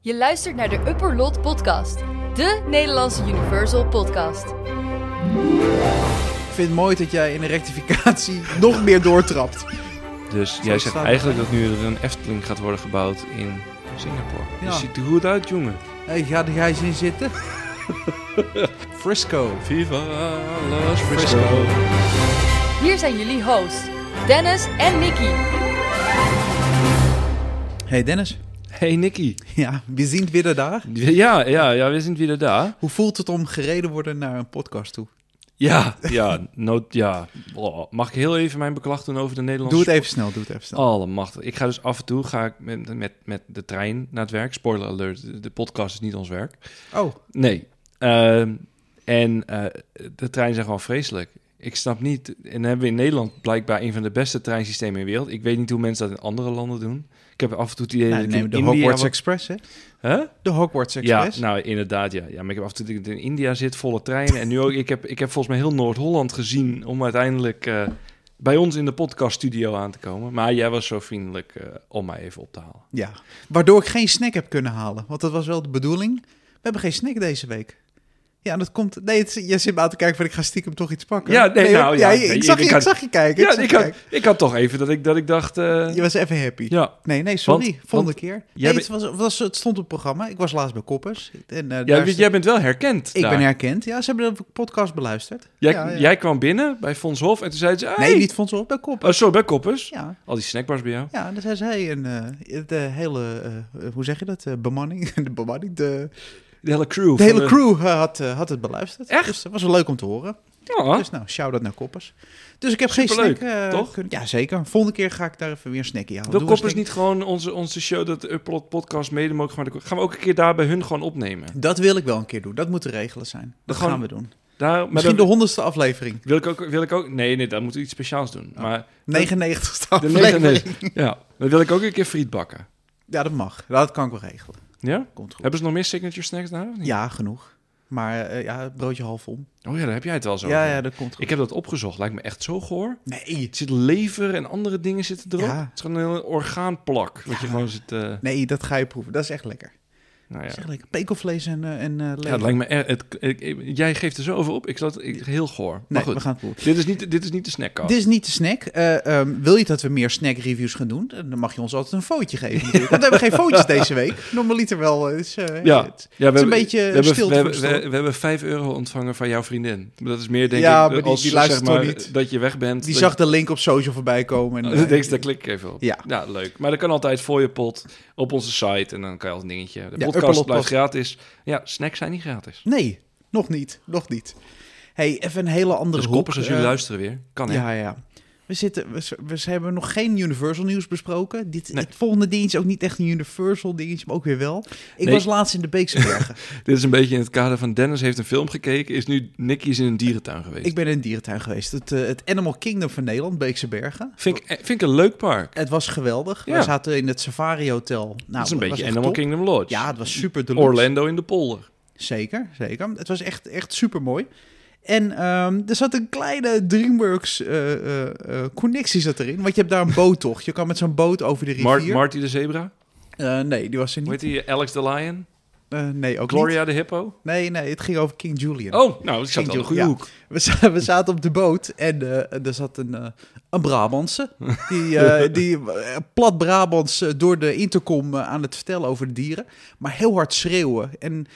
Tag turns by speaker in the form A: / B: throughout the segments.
A: Je luistert naar de Upper Lot Podcast, de Nederlandse Universal Podcast.
B: Ik vind het mooi dat jij in de rectificatie nog meer doortrapt.
C: Dus jij
B: het
C: zegt
B: staan?
C: eigenlijk dat nu er een Efteling gaat worden gebouwd in Singapore.
B: Ja.
C: Dat ziet er goed uit, jongen.
B: Hey, ga er gijs in zitten. Frisco.
C: Viva Las
B: Frisco.
C: Frisco.
A: Hier zijn jullie hosts, Dennis en Mickey.
B: Hey Dennis.
C: Hey Nicky.
B: Ja, we zien het weer daar.
C: Ja, ja, ja, we zijn weer daar.
B: Hoe voelt het om gereden worden naar een podcast toe?
C: Ja, ja, no, ja. Oh, mag ik heel even mijn beklag doen over de Nederlandse...
B: Doe het even snel, doe het even snel.
C: Allemachtig. Ik ga dus af en toe ga ik met, met, met de trein naar het werk. Spoiler alert, de- de podcast is niet ons werk. eh,
B: Oh,
C: Nee. Ehm, en eh, de treinen zijn gewoon vreselijk. Ik snap niet. En dan hebben we in Nederland blijkbaar een van de beste treinsystemen in de wereld. Ik weet niet hoe mensen dat in andere landen doen. Ik heb af en toe het idee
B: nou,
C: dat ik
B: neem
C: in
B: de
C: India
B: Hogwarts
C: wat-
B: Express, hè?
C: Huh?
B: De Hogwarts
C: Ja,
B: Express.
C: nou inderdaad, ja. ja. Maar ik heb af en toe dat ik in India zit, volle treinen. En nu ook, ik heb, ik heb volgens mij heel Noord-Holland gezien om uiteindelijk eh, bij ons in de podcaststudio aan te komen. Maar jij was zo vriendelijk eh, om mij even op te halen.
B: Ja. Waardoor ik geen snack heb kunnen halen. Want dat was wel de bedoeling. We hebben geen snack deze week. Ja, dat komt... Nee, het, jij zit me aan te kijken van ik ga stiekem toch iets pakken.
C: Ja, nee,
B: hoor.
C: nou, ja,
B: ik,
C: nee,
B: zag,
C: ik
B: je, ik
C: had-
B: zag je kijken.
C: Ja,
B: zag
C: ik
B: je
C: had,
B: kijken.
C: ik had toch even dat ik, dat ik dacht... eh,
B: Je was even happy.
C: ja,
B: Nee, nee, sorry.
C: Want-
B: Volgende keer. Nee,
C: bent-
B: het, was, was, het stond op het programma. Ik was laatst bij Koppers. En, eh,
C: ja
B: daar
C: jij,
B: stond-
C: jij bent wel herkend
B: ik
C: daar.
B: ben herkend. Ja, ze hebben de podcast beluisterd.
C: Jij,
B: Ja, ja.
C: jij kwam binnen bij Fons Hof en toen zei ze... Hey.
B: Nee, niet van ze op bij Koppers.
C: Oh, zo, bij Koppers.
B: Ja.
C: Al die snackbars bij jou.
B: Ja, en dan zei ze, hey, en, eh, de hele, eh, hoe zeg je dat, Eh, bemanning, de bemanning, de,
C: De hele crew.
B: de
C: van
B: hele crew eh, had, eh, had het beluisterd.
C: Echt?
B: Dus dat was wel leuk om te horen.
C: Ja.
B: Dus nou, shout-out naar Koppers. Dus ik heb geen
C: Superleuk,
B: snack eh,
C: toch?
B: kunnen- Ja, zeker. Volgende keer ga ik daar even weer een snackie halen.
C: Wil
B: Doe een
C: Koppers
B: snack.
C: niet gewoon onze, onze show, dat Upload podcast, mede mogelijk gemaakt wordt? Gaan we ook een keer daar bij hun gewoon opnemen?
B: Dat wil ik wel een keer doen. Dat moet de regelen zijn. Dat
C: Gewoon-
B: gaan we doen.
C: Daar, maar
B: Misschien de
C: dan-
B: honderdste aflevering.
C: Wil ik, ook, wil ik ook... Nee, nee, daar moeten we iets speciaals
B: Oh.
C: doen. Maar
B: 99ste
C: de
B: aflevering.
C: negen- nee, Ja, dan wil ik ook een keer friet bakken.
B: Ja, dat mag. Dat kan ik wel regelen.
C: Ja?
B: Komt goed.
C: Hebben ze nog meer signature snacks daar? of niet?
B: Ja, genoeg. Maar eh, ja, het broodje half om.
C: Oh ja, daar heb jij het wel zo
B: Ja,
C: over.
B: ja, dat komt goed.
C: Ik heb dat opgezocht. Lijkt me echt zo goor.
B: Nee,
C: Het zit lever en andere dingen zitten erop.
B: Ja.
C: Het is gewoon een hele orgaanplak. Wat je gewoon zit... eh,
B: nee, dat ga je proeven. Dat is echt lekker.
C: nou
B: Dat is
C: ja.
B: echt lekker. Pekelvlees en, eh, en eh, lever.
C: Ja, het lijkt me er- het, ik- ik- jij geeft er zo over op. Ik zat ik, heel goor. Maar
B: nee,
C: goed,
B: we gaan het proeven.
C: dit, is niet, dit is niet de snackkast.
B: Dit is niet de snack. Eh, ehm, wil je dat we meer snack-reviews gaan doen? Eh, Dan mag je ons altijd een fotootje geven. natuurlijk. Want we hebben geen fotootjes deze week. Normaliter wel. eh, is, eh,
C: ja,
B: het-
C: ja, we
B: een beetje
C: we hebben,
B: stilte
C: we, hebben,
B: voor
C: we,
B: de storm.
C: we hebben 5 euro ontvangen van jouw vriendin. Dat is meer, denk
B: Ja,
C: ik,
B: maar die-
C: als
B: die
C: zeg
B: luistert
C: maar,
B: toch niet?
C: dat je weg bent.
B: Die
C: dat
B: zag
C: je-
B: de link op social voorbij komen. En,
C: dan
B: eh,
C: denk je, daar klik ik even op.
B: Ja.
C: leuk. Maar dat kan altijd voor je pot op onze site. En dan kan je al een dingetje. De
B: Ja,
C: podcast
B: Upperlot
C: blijft
B: Pod-
C: gratis. Ja, snacks zijn niet gratis.
B: Nee, nog niet. Nog niet. hey, even een hele andere
C: Dus
B: hoek,
C: koppers als jullie
B: eh,
C: luisteren weer. Kan hè?
B: Ja, ja. We, zitten, we, we- we hebben nog geen Universal nieuws besproken. Dit,
C: Nee.
B: Het volgende dingetje is ook niet echt een Universal dingetje, maar ook weer wel. Ik
C: Nee.
B: was laatst in de Beekse Bergen.
C: Dit is een beetje in het kader van Dennis heeft een film gekeken. Is nu Nicky is in een dierentuin geweest.
B: ik ben in een dierentuin geweest. Het, eh, het Animal Kingdom van Nederland, Beekse Bergen.
C: Vind, ik, eh, vind ik een leuk park.
B: Het was geweldig.
C: Ja.
B: We zaten in het Safari Hotel. Nou,
C: dat is een
B: was
C: beetje
B: echt top.
C: Animal Kingdom Lodge.
B: Ja, het was super deluxe.
C: Orlando in de polder.
B: Zeker, zeker. Het was echt, echt super mooi. En ehm, er zat een kleine DreamWorks eh, eh, eh, connectie zat erin. Want je hebt daar een boottocht. Je kan met zo'n boot over de
C: Mar-
B: rivier.
C: Marty de zebra.
B: Eh, nee, die was er
C: Hoe
B: niet.
C: heet die? Alex the Lion.
B: Eh, nee, ook niet.
C: Gloria de hippo.
B: Nee, nee, het ging over King Julian.
C: Oh, nou, ik zat
B: King
C: wel in de goede
B: Julian,
C: hoek.
B: We, za- we zaten op de boot en eh, er zat een, eh, een Brabantse. Die, eh, die eh, plat Brabants eh, door de intercom eh, aan het vertellen over de dieren. Maar heel hard schreeuwen. En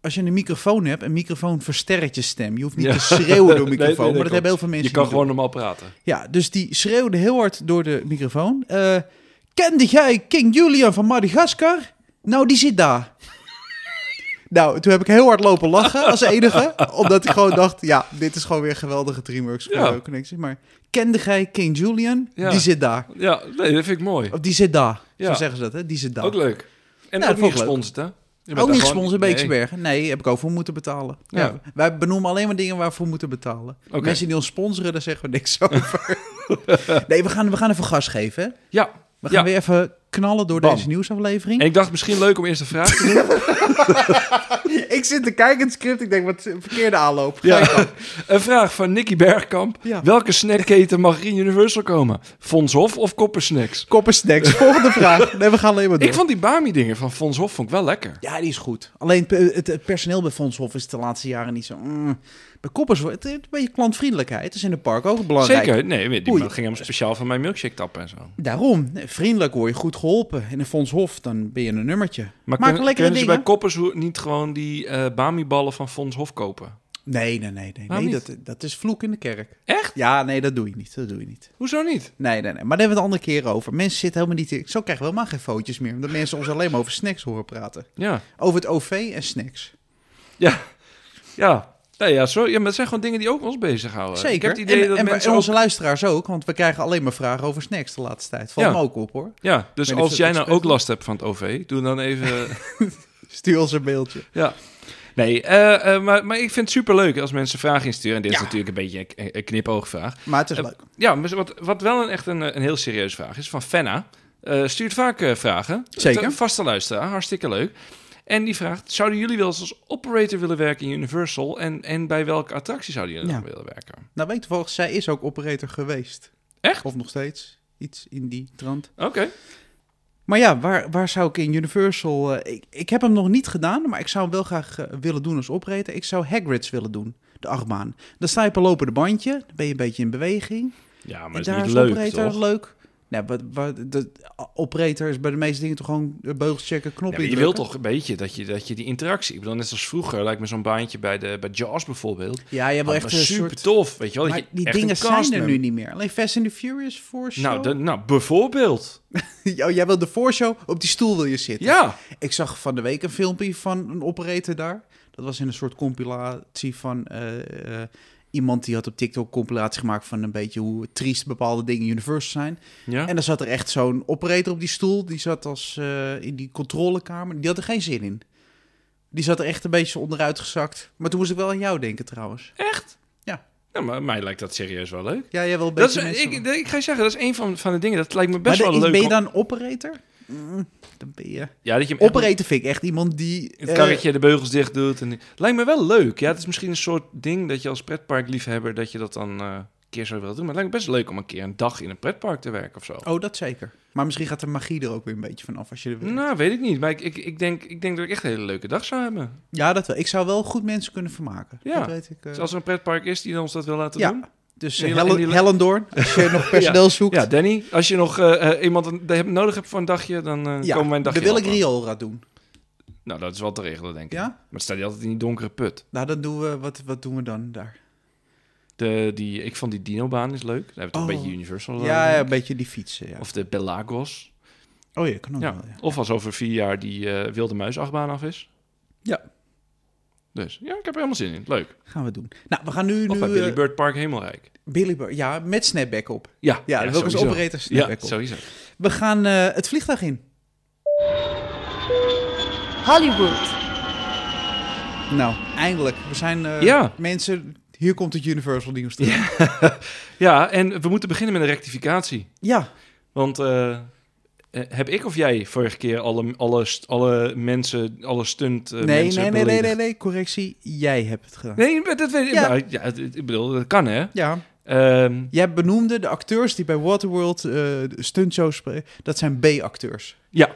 B: als je een microfoon hebt, een microfoon versterkt je stem. Je hoeft niet
C: Ja.
B: te schreeuwen door een
C: Nee,
B: microfoon,
C: nee, dat
B: maar dat
C: klopt.
B: hebben heel veel mensen
C: Je kan
B: niet
C: gewoon normaal praten.
B: door. Ja, dus die schreeuwde heel hard door de microfoon. Eh, Kende jij King Julian van Madagaskar? Nou, die zit daar. Nou, toen heb ik heel hard lopen lachen als enige. omdat ik gewoon dacht, ja, dit is gewoon weer een geweldige DreamWorks
C: Ja.
B: connectie. Maar kende jij King Julian?
C: Ja.
B: Die zit daar.
C: Ja, nee, dat vind ik mooi.
B: Of die zit daar. Zo
C: Ja.
B: zeggen ze dat, hè? Die zit daar.
C: Ook leuk. En
B: Ja, Oh, Nou, dat
C: ook
B: vond
C: niet
B: ik leuk.
C: gesponsord, hè? Je bent
B: Ook
C: daar
B: niet
C: gewoon-
B: gesponsord,
C: Nee.
B: Beeksbergen. Nee. heb ik over moeten betalen. Ja.
C: Ja.
B: wij benoemen alleen maar dingen waarvoor we moeten betalen.
C: Oké.
B: Mensen die ons sponsoren, daar zeggen we niks over. nee, we gaan, we gaan even gas geven. hè?
C: Ja,
B: We
C: Ja.
B: gaan weer even knallen door
C: Bam.
B: deze nieuwsaflevering.
C: En ik dacht misschien leuk om eerst een vraag te doen.
B: Ik zit te kijken in het script. Ik denk, wat verkeerde aanloop. Ga je gang.
C: ja. Een vraag van Nicky Bergkamp.
B: Ja.
C: Welke snackketen mag er in Universal komen? Fons Hof of Koppersnacks?
B: Koppersnacks. Volgende vraag. Nee, we gaan alleen maar door.
C: Ik vond die Bami dingen van Fons Hof vond ik wel lekker.
B: Ja, die is goed. Alleen pe- het het personeel bij Fondshof is de laatste jaren niet zo... mm. Bij Koppers wordt het een beetje klantvriendelijkheid. is in het park ook belangrijk.
C: Zeker. Nee, die
B: Oei.
C: ging helemaal speciaal van mijn milkshake tappen en zo.
B: Daarom, nee, vriendelijk word je goed geholpen. In een Fondshof, dan ben je een nummertje.
C: Maar
B: Maak
C: kun-
B: lekkere
C: kunnen ze bij
B: dingen.
C: Koppers ho- niet gewoon die eh Bami-ballen van Fons Hof kopen?
B: Nee, nee, nee. nee,
C: Waarom
B: nee
C: niet?
B: dat, dat is vloek in de kerk.
C: Echt?
B: Ja, nee, dat doe je niet. Dat doe je niet.
C: Hoezo niet?
B: Nee, nee, nee. Maar daar hebben we het een andere keer over. Mensen zitten helemaal niet... in- Zo krijgen we helemaal geen foto's meer. Omdat mensen ons alleen maar over snacks horen praten.
C: Ja.
B: Over het OV en snacks.
C: Ja. Ja. Nee, ja, zo, ja, maar het zijn gewoon dingen die ook ons bezighouden.
B: Zeker.
C: Ik heb het idee
B: en,
C: dat
B: en,
C: mensen
B: en
C: ook-
B: onze luisteraars ook. Want we krijgen alleen maar vragen over snacks de laatste tijd. Valt
C: Ja.
B: me ook op, hoor.
C: Ja,
B: Ik weet
C: dus
B: niet of
C: als
B: het
C: jij nou
B: expres
C: ook
B: doet.
C: last hebt van het OV, doe dan even...
B: Stuur ons een mailtje.
C: Ja. Nee, eh, eh, maar, maar ik vind het superleuk als mensen vragen insturen. En dit is
B: Ja.
C: natuurlijk een beetje een- een, een knipoogvraag.
B: Maar het is
C: Eh,
B: leuk.
C: Ja, maar wat, wat wel een, echt een, eh, een heel serieuze vraag is van Fenna. eh, stuurt vaak eh, vragen.
B: Zeker.
C: Een vaste luisteraar, hartstikke leuk. En die vraagt, zouden jullie wel eens als operator willen werken in Universal? En, en bij welke attractie zouden jullie
B: Ja.
C: dan willen werken?
B: Nou weet ik toevallig, zij is ook operator geweest.
C: Echt?
B: Of nog steeds. Iets in die trant.
C: Oké.
B: Maar ja, waar, waar zou ik in Universal... eh, ik, ik heb hem nog niet gedaan, maar ik zou hem wel graag eh, willen doen als operator. Ik zou Hagrid's willen doen, de achtbaan. Dan sta je op een lopende bandje, dan ben je een beetje in beweging.
C: Ja, maar
B: en
C: het is
B: daar
C: niet
B: is
C: leuk,
B: operator
C: toch?
B: leuk. Nou, wat, wat, de operator is bij de meeste dingen toch gewoon eh, beugels checken,
C: Ja,
B: knoppen
C: maar je
B: indrukken?
C: wilt toch een beetje dat je, dat je die interactie... Ik bedoel, net als vroeger, lijkt me zo'n baantje bij, de, bij Jaws bijvoorbeeld.
B: Ja, je hebt wel echt een
C: Ah, super
B: soort...
C: tof, weet je wel. dat
B: Maar
C: je
B: die
C: echt een
B: dingen zijn er
C: castmember-
B: nu niet meer. Alleen Fast and the Furious voor show.
C: Nou, dan- nou, bijvoorbeeld.
B: Oh, jij wil de voorshow, op die stoel wil je zitten.
C: Ja.
B: Ik zag van de week een filmpje van een operator daar. Dat was in een soort compilatie van eh, eh, iemand die had op TikTok compilatie gemaakt van een beetje hoe triest bepaalde dingen in Universal zijn.
C: ja.
B: En dan zat er echt zo'n operator op die stoel. Die zat als eh, in die controlekamer. Die had er geen zin in. Die zat er echt een beetje onderuit gezakt. Maar toen moest ik wel aan jou denken trouwens.
C: Echt?
B: Ja.
C: Nou, maar mij lijkt dat serieus wel leuk.
B: Ja, jij wel een
C: Dat
B: beetje
C: is,
B: mensen-
C: ik, ik ga je zeggen, dat is een van, van de dingen. Dat lijkt me best
B: maar
C: wel
B: dan is-
C: leuk.
B: ben je
C: om-
B: dan operator? Mm, dan ben je...
C: Ja, dat je hem echt
B: Operator vind ik echt iemand die...
C: met
B: eh,
C: het karretje de beugels dicht doet. En... Lijkt me wel leuk. Ja, het is misschien een soort ding dat je als pretparkliefhebber... dat je dat dan eh, een keer zou willen doen. Maar het lijkt me best leuk om een keer een dag in een pretpark te werken of zo.
B: Oh, dat zeker. Maar misschien gaat de magie er ook weer een beetje vanaf als je er wil.
C: Nou, weet ik niet. Maar ik, ik, ik, denk, ik denk dat ik echt een hele leuke dag zou hebben.
B: Ja, dat wel. Ik zou wel goed mensen kunnen vermaken.
C: Ja.
B: Dat weet ik. eh.
C: Dus als er een pretpark is die ons dat wil laten
B: Ja.
C: doen.
B: Dus
C: En
B: eh,
C: die- en
B: Helen,
C: die-
B: Hellendoorn, als je nog personeel zoekt.
C: Ja, Danny, als je nog eh, eh, iemand een- die heb- nodig hebt voor een dagje, dan eh
B: Ja,
C: komen wij een dagje
B: dan wil ik
C: helpen.
B: Rioolra doen.
C: Nou, dat is wel te regelen, denk ik.
B: Ja?
C: Maar het staat die altijd in die donkere put.
B: Nou, dan doen we... Wat, wat doen we dan daar?
C: De, die, ik vond die Dinobaan is leuk. Daar hebben we toch
B: Oh.
C: een beetje Universal. eh,
B: ja, ja, een beetje die fietsen, ja.
C: Of de Belagos.
B: Oh ja, kan ook
C: Ja.
B: wel, ja.
C: Of als over vier jaar die eh, Wilde Muis achtbaan af is.
B: Ja.
C: Dus ja, ik heb er helemaal zin in. Leuk.
B: Gaan we doen. Nou, we gaan nu...
C: Of
B: nu
C: bij Billy
B: eh,
C: Bird Park Hemelrijk.
B: Billy Bird, Ja, met snapback op.
C: Ja,
B: Ja, dan wil ik als
C: sowieso.
B: operator snapback
C: Ja,
B: op.
C: sowieso.
B: We gaan eh, het vliegtuig in.
A: Hollywood.
B: Nou, eindelijk. We zijn eh,
C: Ja.
B: mensen... Hier komt het Universal nieuws terug. Ja.
C: Ja, en we moeten beginnen met een rectificatie.
B: ja.
C: Want eh, eh, heb ik of jij vorige keer alle, alle, st- alle mensen, alle stunt eh,
B: Nee,
C: mensen
B: nee, nee, nee,
C: beledigd?
B: nee, nee. Correctie. Jij hebt het gedaan.
C: Nee, maar dat weet ik.
B: Ja.
C: nou, ja, het- het- ik bedoel, dat kan hè.
B: Ja.
C: Ehm,
B: Jij benoemde de acteurs die bij Waterworld eh, de stuntshows spelen. Dat zijn B-acteurs.
C: ja,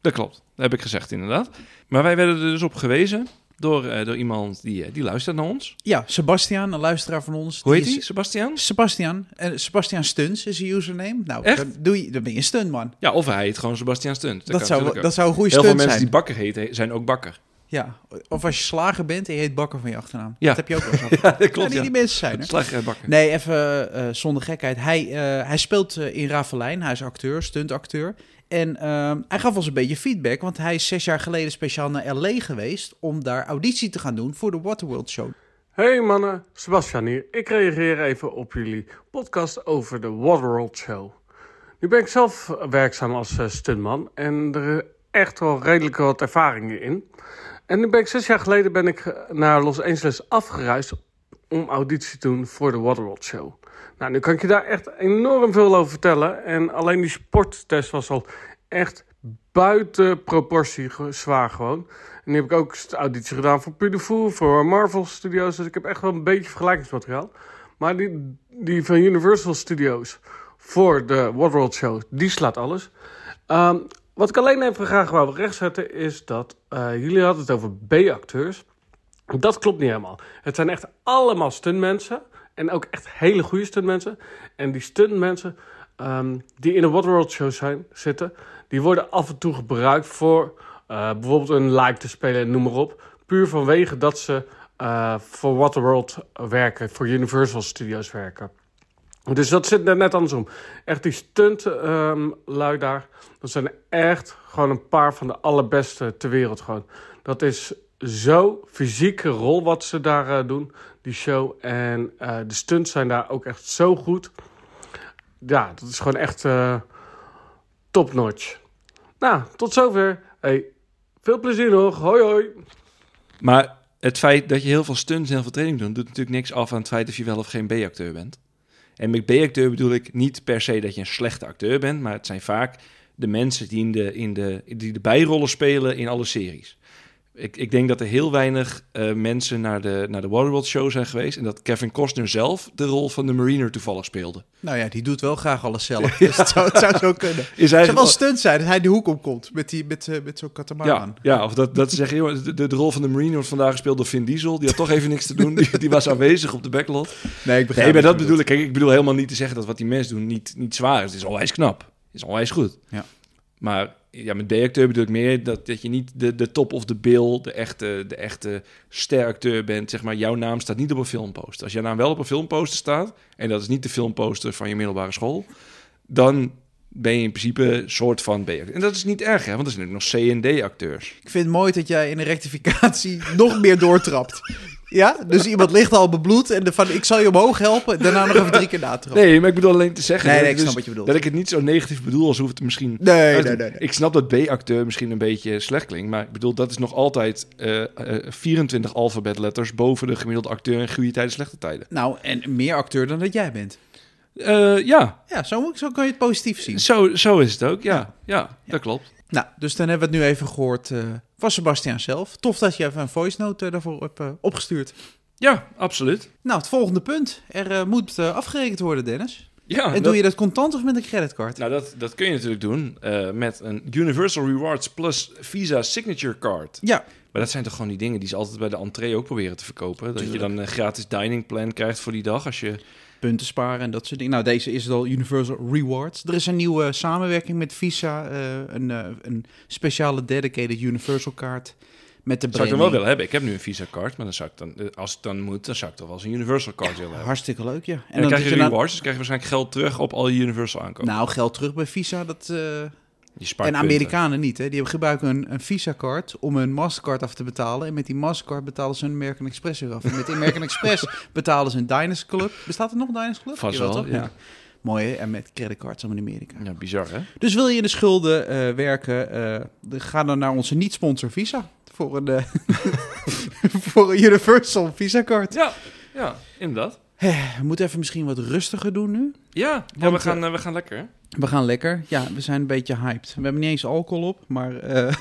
C: dat klopt. Dat heb ik gezegd inderdaad. Maar wij werden er dus op gewezen door, eh, door iemand die, eh, die luistert naar ons.
B: Ja, Sebastian, een luisteraar van ons.
C: Hoe
B: die
C: heet die,
B: is-
C: Sebastian?
B: Sebastian. En Sebastian Stunts is zijn username. Nou,
C: Echt?
B: Dan, doe je, dan ben je een stuntman.
C: Ja, of hij heet gewoon Sebastian Stunt.
B: Dat,
C: kan
B: zou,
C: natuurlijk
B: dat
C: ook.
B: zou een goede
C: Heel veel
B: stunt
C: mensen
B: zijn.
C: die Bakker heten, he- zijn ook Bakker.
B: Ja. Of als je slager bent en je heet Bakker van je achternaam.
C: Ja.
B: Dat heb je ook wel eens. gehad.
C: Ja, dat
B: Ja,
C: klopt,
B: die,
C: ja.
B: die mensen zijn er.
C: Slag, eh, Bakker.
B: Nee, even eh, zonder gekheid. Hij, eh, hij speelt eh, in Ravelijn. Hij is acteur, stuntacteur. En ehm, hij gaf ons een beetje feedback, want hij is zes jaar geleden speciaal naar L.A. geweest om daar auditie te gaan doen voor de Waterworld Show.
D: Hey mannen, Sebastian hier. Ik reageer even op jullie podcast over de Waterworld Show. Nu ben ik zelf werkzaam als eh, stuntman en er is echt wel redelijk wat ervaringen in. En nu ben ik zes jaar geleden ben ik eh, naar Los Angeles afgereisd om auditie te doen voor de Waterworld Show. Nou, nu kan ik je daar echt enorm veel over vertellen. En alleen die sporttest was al echt buiten proportie ge- zwaar gewoon. En die heb ik ook st- auditie gedaan voor Pudefoe, voor Marvel Studios. Dus ik heb echt wel een beetje vergelijkingsmateriaal. Maar die, die van Universal Studios voor de World Show, die slaat alles. Ehm, wat ik alleen even graag wou rechtzetten is dat eh, jullie hadden het over B-acteurs. Dat klopt niet helemaal. Het zijn echt allemaal stuntmensen. En ook echt hele goede stuntmensen. En die stuntmensen ehm, die in de Waterworld show zijn, zitten... die worden af en toe gebruikt voor eh, bijvoorbeeld een like te spelen en noem maar op. Puur vanwege dat ze eh, voor Waterworld werken, voor Universal Studios werken. Dus dat zit er net andersom. Echt die stunt ehm, lui daar. Dat zijn echt gewoon een paar van de allerbeste ter wereld gewoon. Dat is zo fysieke rol wat ze daar eh, doen, die show. En eh, de stunts zijn daar ook echt zo goed. Ja, dat is gewoon echt eh top notch. Nou, tot zover. Hey, veel plezier nog. Hoi hoi.
C: Maar het feit dat je heel veel stunts en heel veel training doet, doet natuurlijk niks af aan het feit of je wel of geen B-acteur bent. En met B-acteur bedoel ik niet per se dat je een slechte acteur bent, maar het zijn vaak de mensen die, in de, in de, die de bijrollen spelen in alle series. Ik, ik denk dat er heel weinig eh, mensen naar de, naar de Waterworld show zijn geweest en dat Kevin Costner zelf de rol van de Mariner toevallig speelde.
B: Nou ja, die doet wel graag alles zelf. Dus het, zou, het zou zo kunnen.
C: Is
B: Het zou wel
C: eigenlijk
B: stunt zijn dat hij de hoek omkomt met, die- met, eh, met zo'n katamaran.
C: Ja, ja, of dat, dat ze zeggen, joh, de, de rol van de Marine wordt vandaag gespeeld door Vin Diesel. Die had toch even niks te doen. Die, die was aanwezig op de backlot.
B: Nee, ik
C: Nee,
B: wat
C: maar
B: je
C: dat
B: bedoelt.
C: bedoel ik. Kijk, ik bedoel helemaal niet te zeggen dat wat die mensen doen niet, niet zwaar is. Het is onwijs knap. Het is onwijs goed.
B: Ja.
C: Maar ja, met D-acteur bedoel ik meer dat, dat je niet de, de top of the bill, de echte, de echte steracteur bent. Zeg maar, jouw naam staat niet op een filmposter. Als jouw naam wel op een filmposter staat, en dat is niet de filmposter van je middelbare school, dan ben je in principe een soort van B-acteur. En dat is niet erg, hè, want er zijn ook nog C- en D-acteurs.
B: Ik vind het mooi dat jij in de rectificatie nog meer doortrapt. Ja, dus iemand ligt al bebloed en de van ik zal je omhoog helpen. Daarna nog even drie keer natrappen.
C: Nee, maar ik bedoel alleen te zeggen
B: Nee,
C: dat,
B: nee, ik
C: dus-
B: snap wat je bedoelt.
C: dat ik het niet zo negatief bedoel als hoe het misschien...
B: Nee,
C: uit-
B: nee, nee, nee.
C: Ik snap dat B-acteur misschien een beetje slecht klinkt, maar ik bedoel, dat is nog altijd eh, eh, 24 alfabetletters boven de gemiddelde acteur in goede tijden, slechte tijden.
B: Nou, en meer acteur dan dat jij bent.
C: Eh, ja,
B: Ja, zo, zo kan je het positief zien.
C: zo, zo is het ook. Ja, ja, dat klopt.
B: Nou, dus dan hebben we het nu even gehoord eh, van Sebastian zelf. Tof dat je even een voice note eh, daarvoor hebt eh, opgestuurd.
C: Ja, absoluut.
B: Nou, het volgende punt. Er eh, moet eh, afgerekend worden, Dennis.
C: Ja,
B: En
C: Ah, dat-
B: doe je dat contant of met een creditcard?
C: Nou, dat, dat kun je natuurlijk doen eh, met een Universal Rewards Plus Visa Signature Card.
B: Ja,
C: Maar dat zijn toch gewoon die dingen die ze altijd bij de entree ook proberen te verkopen. Dat je
B: Tuurlijk.
C: dan een gratis dining plan krijgt voor die dag als je
B: punten sparen en dat soort dingen. Nou, deze is het al, Universal Rewards. Er is een nieuwe eh, samenwerking met Visa, eh, een, eh, een speciale dedicated Universal kaart met de
C: Dat zou ik
B: branding.
C: dan wel willen hebben. Ik heb nu een Visa-card, maar dan zou ik dan, eh, als het dan moet, dan zou ik toch wel eens een Universal-card willen hebben.
B: Hartstikke leuk, ja. En,
C: En dan,
B: doe
C: krijg je,
B: dan-
C: rewards, dus krijg je waarschijnlijk geld terug op al je Universal aankopen.
B: Nou, geld terug bij Visa, dat... eh,
C: je spaart
B: en
C: punten.
B: Amerikanen niet, hè. Die gebruiken een, een Visa-kaart om hun Mastercard af te betalen. En met die Mastercard betalen ze hun American Express weer af. En met die American Express betalen ze een Diners Club. Bestaat er nog een Diners Club?
C: Vast
B: Jawel,
C: wel,
B: toch?
C: ja.
B: Mooi, hè? En met creditcards allemaal in Amerika.
C: Ja, bizar, hè?
B: Dus wil je in de schulden eh, werken, eh, dan ga dan naar onze niet-sponsor Visa. Voor een, eh, voor een Universal Visa-kaart.
C: Ja, ja inderdaad.
B: We moeten even misschien wat rustiger doen nu.
C: Ja, ja
B: Want,
C: we, gaan, eh, we gaan lekker. hè?
B: We gaan lekker. Ja, we zijn een beetje hyped. We hebben niet eens alcohol op, maar... eh,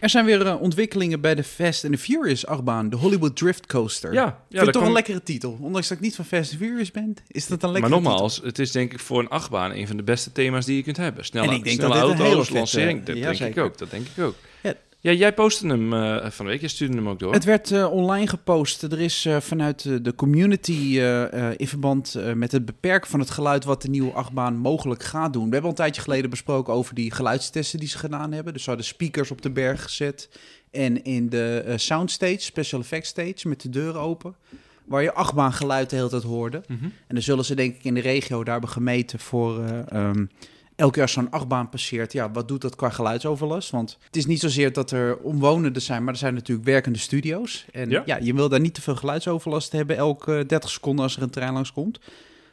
B: er zijn weer eh, ontwikkelingen bij de Fast and the Furious achtbaan. De Hollywood Drift Coaster.
C: Ja, ja,
B: Vind
C: daar
B: ik toch
C: kwam-
B: een lekkere titel. Ondanks dat ik niet van Fast and Furious ben, is dat een
C: Maar
B: lekkere titel.
C: nogmaals, het is denk ik voor een achtbaan een van de beste thema's die je kunt hebben. Snelle,
B: En ik denk
C: snelle
B: dat dit een
C: auto's,
B: hele vette-
C: lancering, dat
B: ja,
C: denk
B: zeker.
C: ik ook. Dat denk ik ook.
B: Ja.
C: Ja, jij postte hem eh, van de week, jij stuurde hem ook door.
B: Het werd eh, online gepost. Er is eh, vanuit eh, de community eh, eh, in verband eh, met het beperken van het geluid wat de nieuwe achtbaan mogelijk gaat doen. We hebben al een tijdje geleden besproken over die geluidstesten die ze gedaan hebben. Dus ze hadden speakers op de berg gezet en in de eh, soundstage, special effects stage, met de deuren open. Waar je achtbaangeluid de hele tijd hoorde.
C: Mhm.
B: En dan zullen ze denk ik in de regio daar hebben gemeten voor... eh, ehm, elke keer als zo'n achtbaan passeert, ja, wat doet dat qua geluidsoverlast? Want het is niet zozeer dat er omwonenden zijn, maar er zijn natuurlijk werkende studio's. En ja,
C: Ja.
B: je wil daar niet te veel geluidsoverlast hebben elke 30 seconden als er een trein langskomt.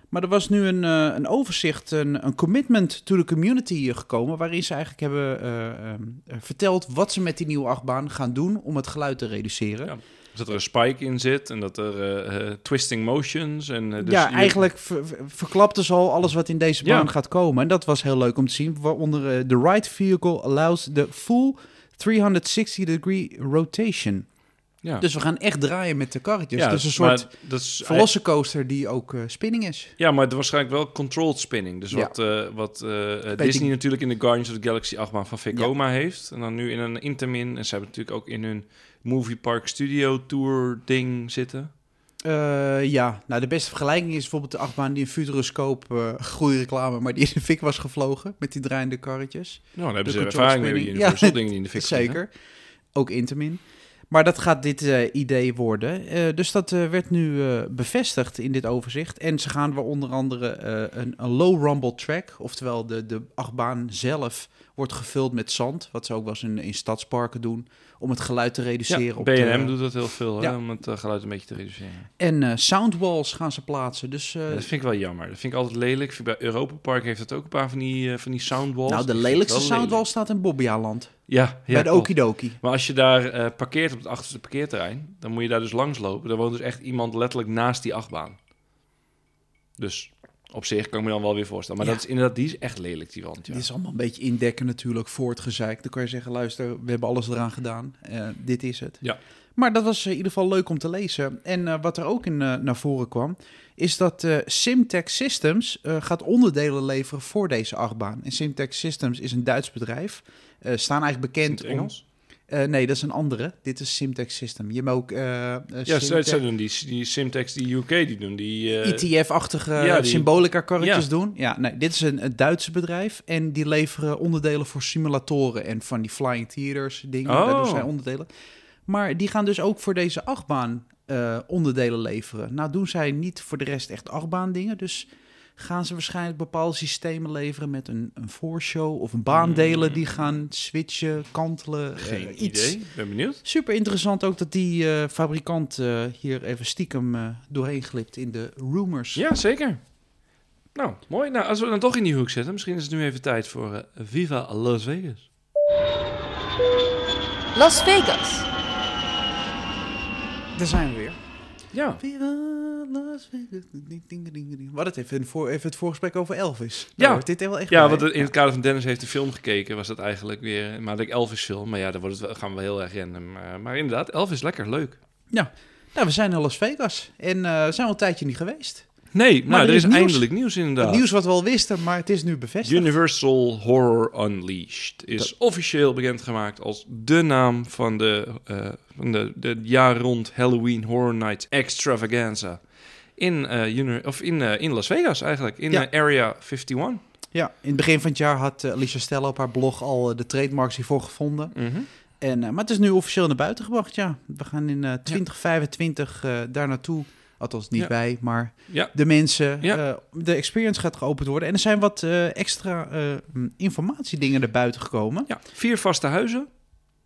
B: Maar er was nu een, eh, een overzicht, een, een commitment to the community eh, gekomen, waarin ze eigenlijk hebben eh, ehm, eh, verteld wat ze met die nieuwe achtbaan gaan doen om het geluid te reduceren.
C: Ja. Dus dat er een spike in zit en dat er eh, eh, twisting motions. En, eh, dus
B: ja,
C: je-
B: eigenlijk ver, ver- verklapte ze al alles wat in deze
C: Ja.
B: baan gaat komen. En dat was heel leuk om te zien. Waaronder eh, de right vehicle allows the full 360 degree rotation.
C: ja.
B: Dus we gaan echt draaien met de karretjes.
C: Ja,
B: dus een soort
C: maar dat is,
B: velocicoaster die ook eh, spinning is.
C: Ja, maar het is waarschijnlijk wel controlled spinning. Dus
B: Ja.
C: wat, eh, wat eh, eh, Disney
B: ik-
C: natuurlijk in de Guardians of the Galaxy achtbaan van Vekoma heeft. En dan nu in een intermin. En ze hebben natuurlijk ook in hun Movie Park Studio Tour ding zitten.
B: Eh, ja, nou de beste vergelijking is bijvoorbeeld de achtbaan die in Futuroscope, eh goede reclame, maar die in de fik was gevlogen met die draaiende karretjes.
C: Nou, dan hebben
B: De
C: ze
B: control
C: ervaring met
B: spinning.
C: Universal
B: Ja,
C: dingen die in de fik vliegen.
B: Zeker. Ook Intamin. Maar dat gaat dit eh, idee worden. Eh, dus dat eh, werd nu eh, bevestigd in dit overzicht. En ze gaan wel onder andere eh, een, een low rumble track. Oftewel de, de achtbaan zelf wordt gevuld met zand. Wat ze ook wel eens in, in stadsparken doen. Om het geluid te reduceren.
C: Ja,
B: op
C: B&M
B: de-
C: doet dat heel veel,
B: Ja.
C: hè, om het eh, geluid een beetje te reduceren.
B: En eh, soundwalls gaan ze plaatsen. Dus eh,
C: Ja, dat vind ik wel jammer. Dat vind ik altijd lelijk. Ik vind Bij Europa Park heeft dat ook een paar van die, eh, van die soundwalls.
B: nou, de
C: Die vind ik
B: lelijkste
C: wel
B: soundwall
C: lelijk.
B: staat in Bobbejaanland.
C: Ja, ja
B: bij de
C: klopt.
B: Okidoki.
C: Maar als je daar eh, parkeert op het achterste parkeerterrein, dan moet je daar dus langs lopen. Daar woont dus echt iemand letterlijk naast die achtbaan. Dus op zich kan ik me dan wel weer voorstellen. Maar
B: Ja.
C: dat is inderdaad, die is echt lelijk, die wand. Ja.
B: Dit is allemaal een beetje indekken natuurlijk voor het gezeik. Dan kan je zeggen, luister, we hebben alles eraan gedaan. Eh, dit is het.
C: Ja.
B: Maar dat was eh, in ieder geval leuk om te lezen. En eh, wat er ook in, eh, naar voren kwam, is dat eh Simtech Systems eh, gaat onderdelen leveren voor deze achtbaan. En Simtech Systems is een Duits bedrijf. Eh staan eigenlijk
C: In
B: bekend
C: het Engels?
B: om... Eh, nee, dat is een andere. Dit is Simtech System. Je hebt ook eh eh,
C: Ja, zij,
B: Simtech-
C: zij doen die, die Simtex, die UK, die doen die... eh,
B: E ETF-achtige
C: ja, die-
B: symbolica-karretjes
C: ja.
B: doen. Ja, nee, dit is een, een Duitse bedrijf en die leveren onderdelen voor simulatoren en van die flying theaters dingen.
C: Oh.
B: Daar doen zij onderdelen. Maar die gaan dus ook voor deze achtbaan eh, onderdelen leveren. Nou doen zij niet voor de rest echt achtbaan dingen, dus gaan ze waarschijnlijk bepaalde systemen leveren met een, een voorshow of een baandelen die gaan switchen, kantelen, eh,
C: Hmm. geen
B: iets.
C: idee, ben benieuwd.
B: Super interessant ook dat die eh, fabrikant eh, hier even stiekem eh, doorheen glipt in de rumors.
C: Ja, zeker. Nou, mooi. Nou, als we dan toch in die hoek zitten, misschien is het nu even tijd voor eh, Viva Las Vegas.
A: Las Vegas.
B: Daar zijn we weer.
C: Ja,
B: Viva Las Vegas. Ding, ding, ding, ding. We hadden het even, in voor, even het voorgesprek over Elvis. Nou,
C: Ja.
B: hoort dit er wel echt
C: Ja,
B: bij.
C: want in het kader van Dennis heeft de film gekeken, was dat eigenlijk weer. Maar ik Elvis film, maar ja, daar wordt het, wel- gaan we heel erg random. eh, maar inderdaad, Elvis lekker leuk.
B: Nou, we zijn in Las Vegas en eh, we zijn al een tijdje niet geweest.
C: Nee,
B: Maar
C: nou,
B: er
C: er,
B: is
C: is,
B: nieuws.
C: eindelijk nieuws inderdaad.
B: Het nieuws wat we al wisten, maar het is nu bevestigd.
C: Universal Horror Unleashed is officieel bekendgemaakt als de naam van de, eh, van de, de jaar rond Halloween Horror Nights Extravaganza. In, eh, Uni- of in, eh, in Las Vegas eigenlijk, in
B: Ja.
C: eh, Area 51.
B: Ja, in het begin van het jaar had eh, Alicia Stella op haar blog al eh, de trademarks hiervoor gevonden.
C: Mhm.
B: En, eh, maar het is nu officieel naar buiten gebracht, ja. We gaan in eh, 2025 eh, daar naartoe. Althans, niet
C: Ja.
B: wij, maar
C: Ja.
B: de mensen.
C: Ja.
B: eh, de experience gaat geopend worden. En er zijn wat eh, extra eh, m, informatiedingen naar buiten gekomen.
C: Ja, vier vaste huizen.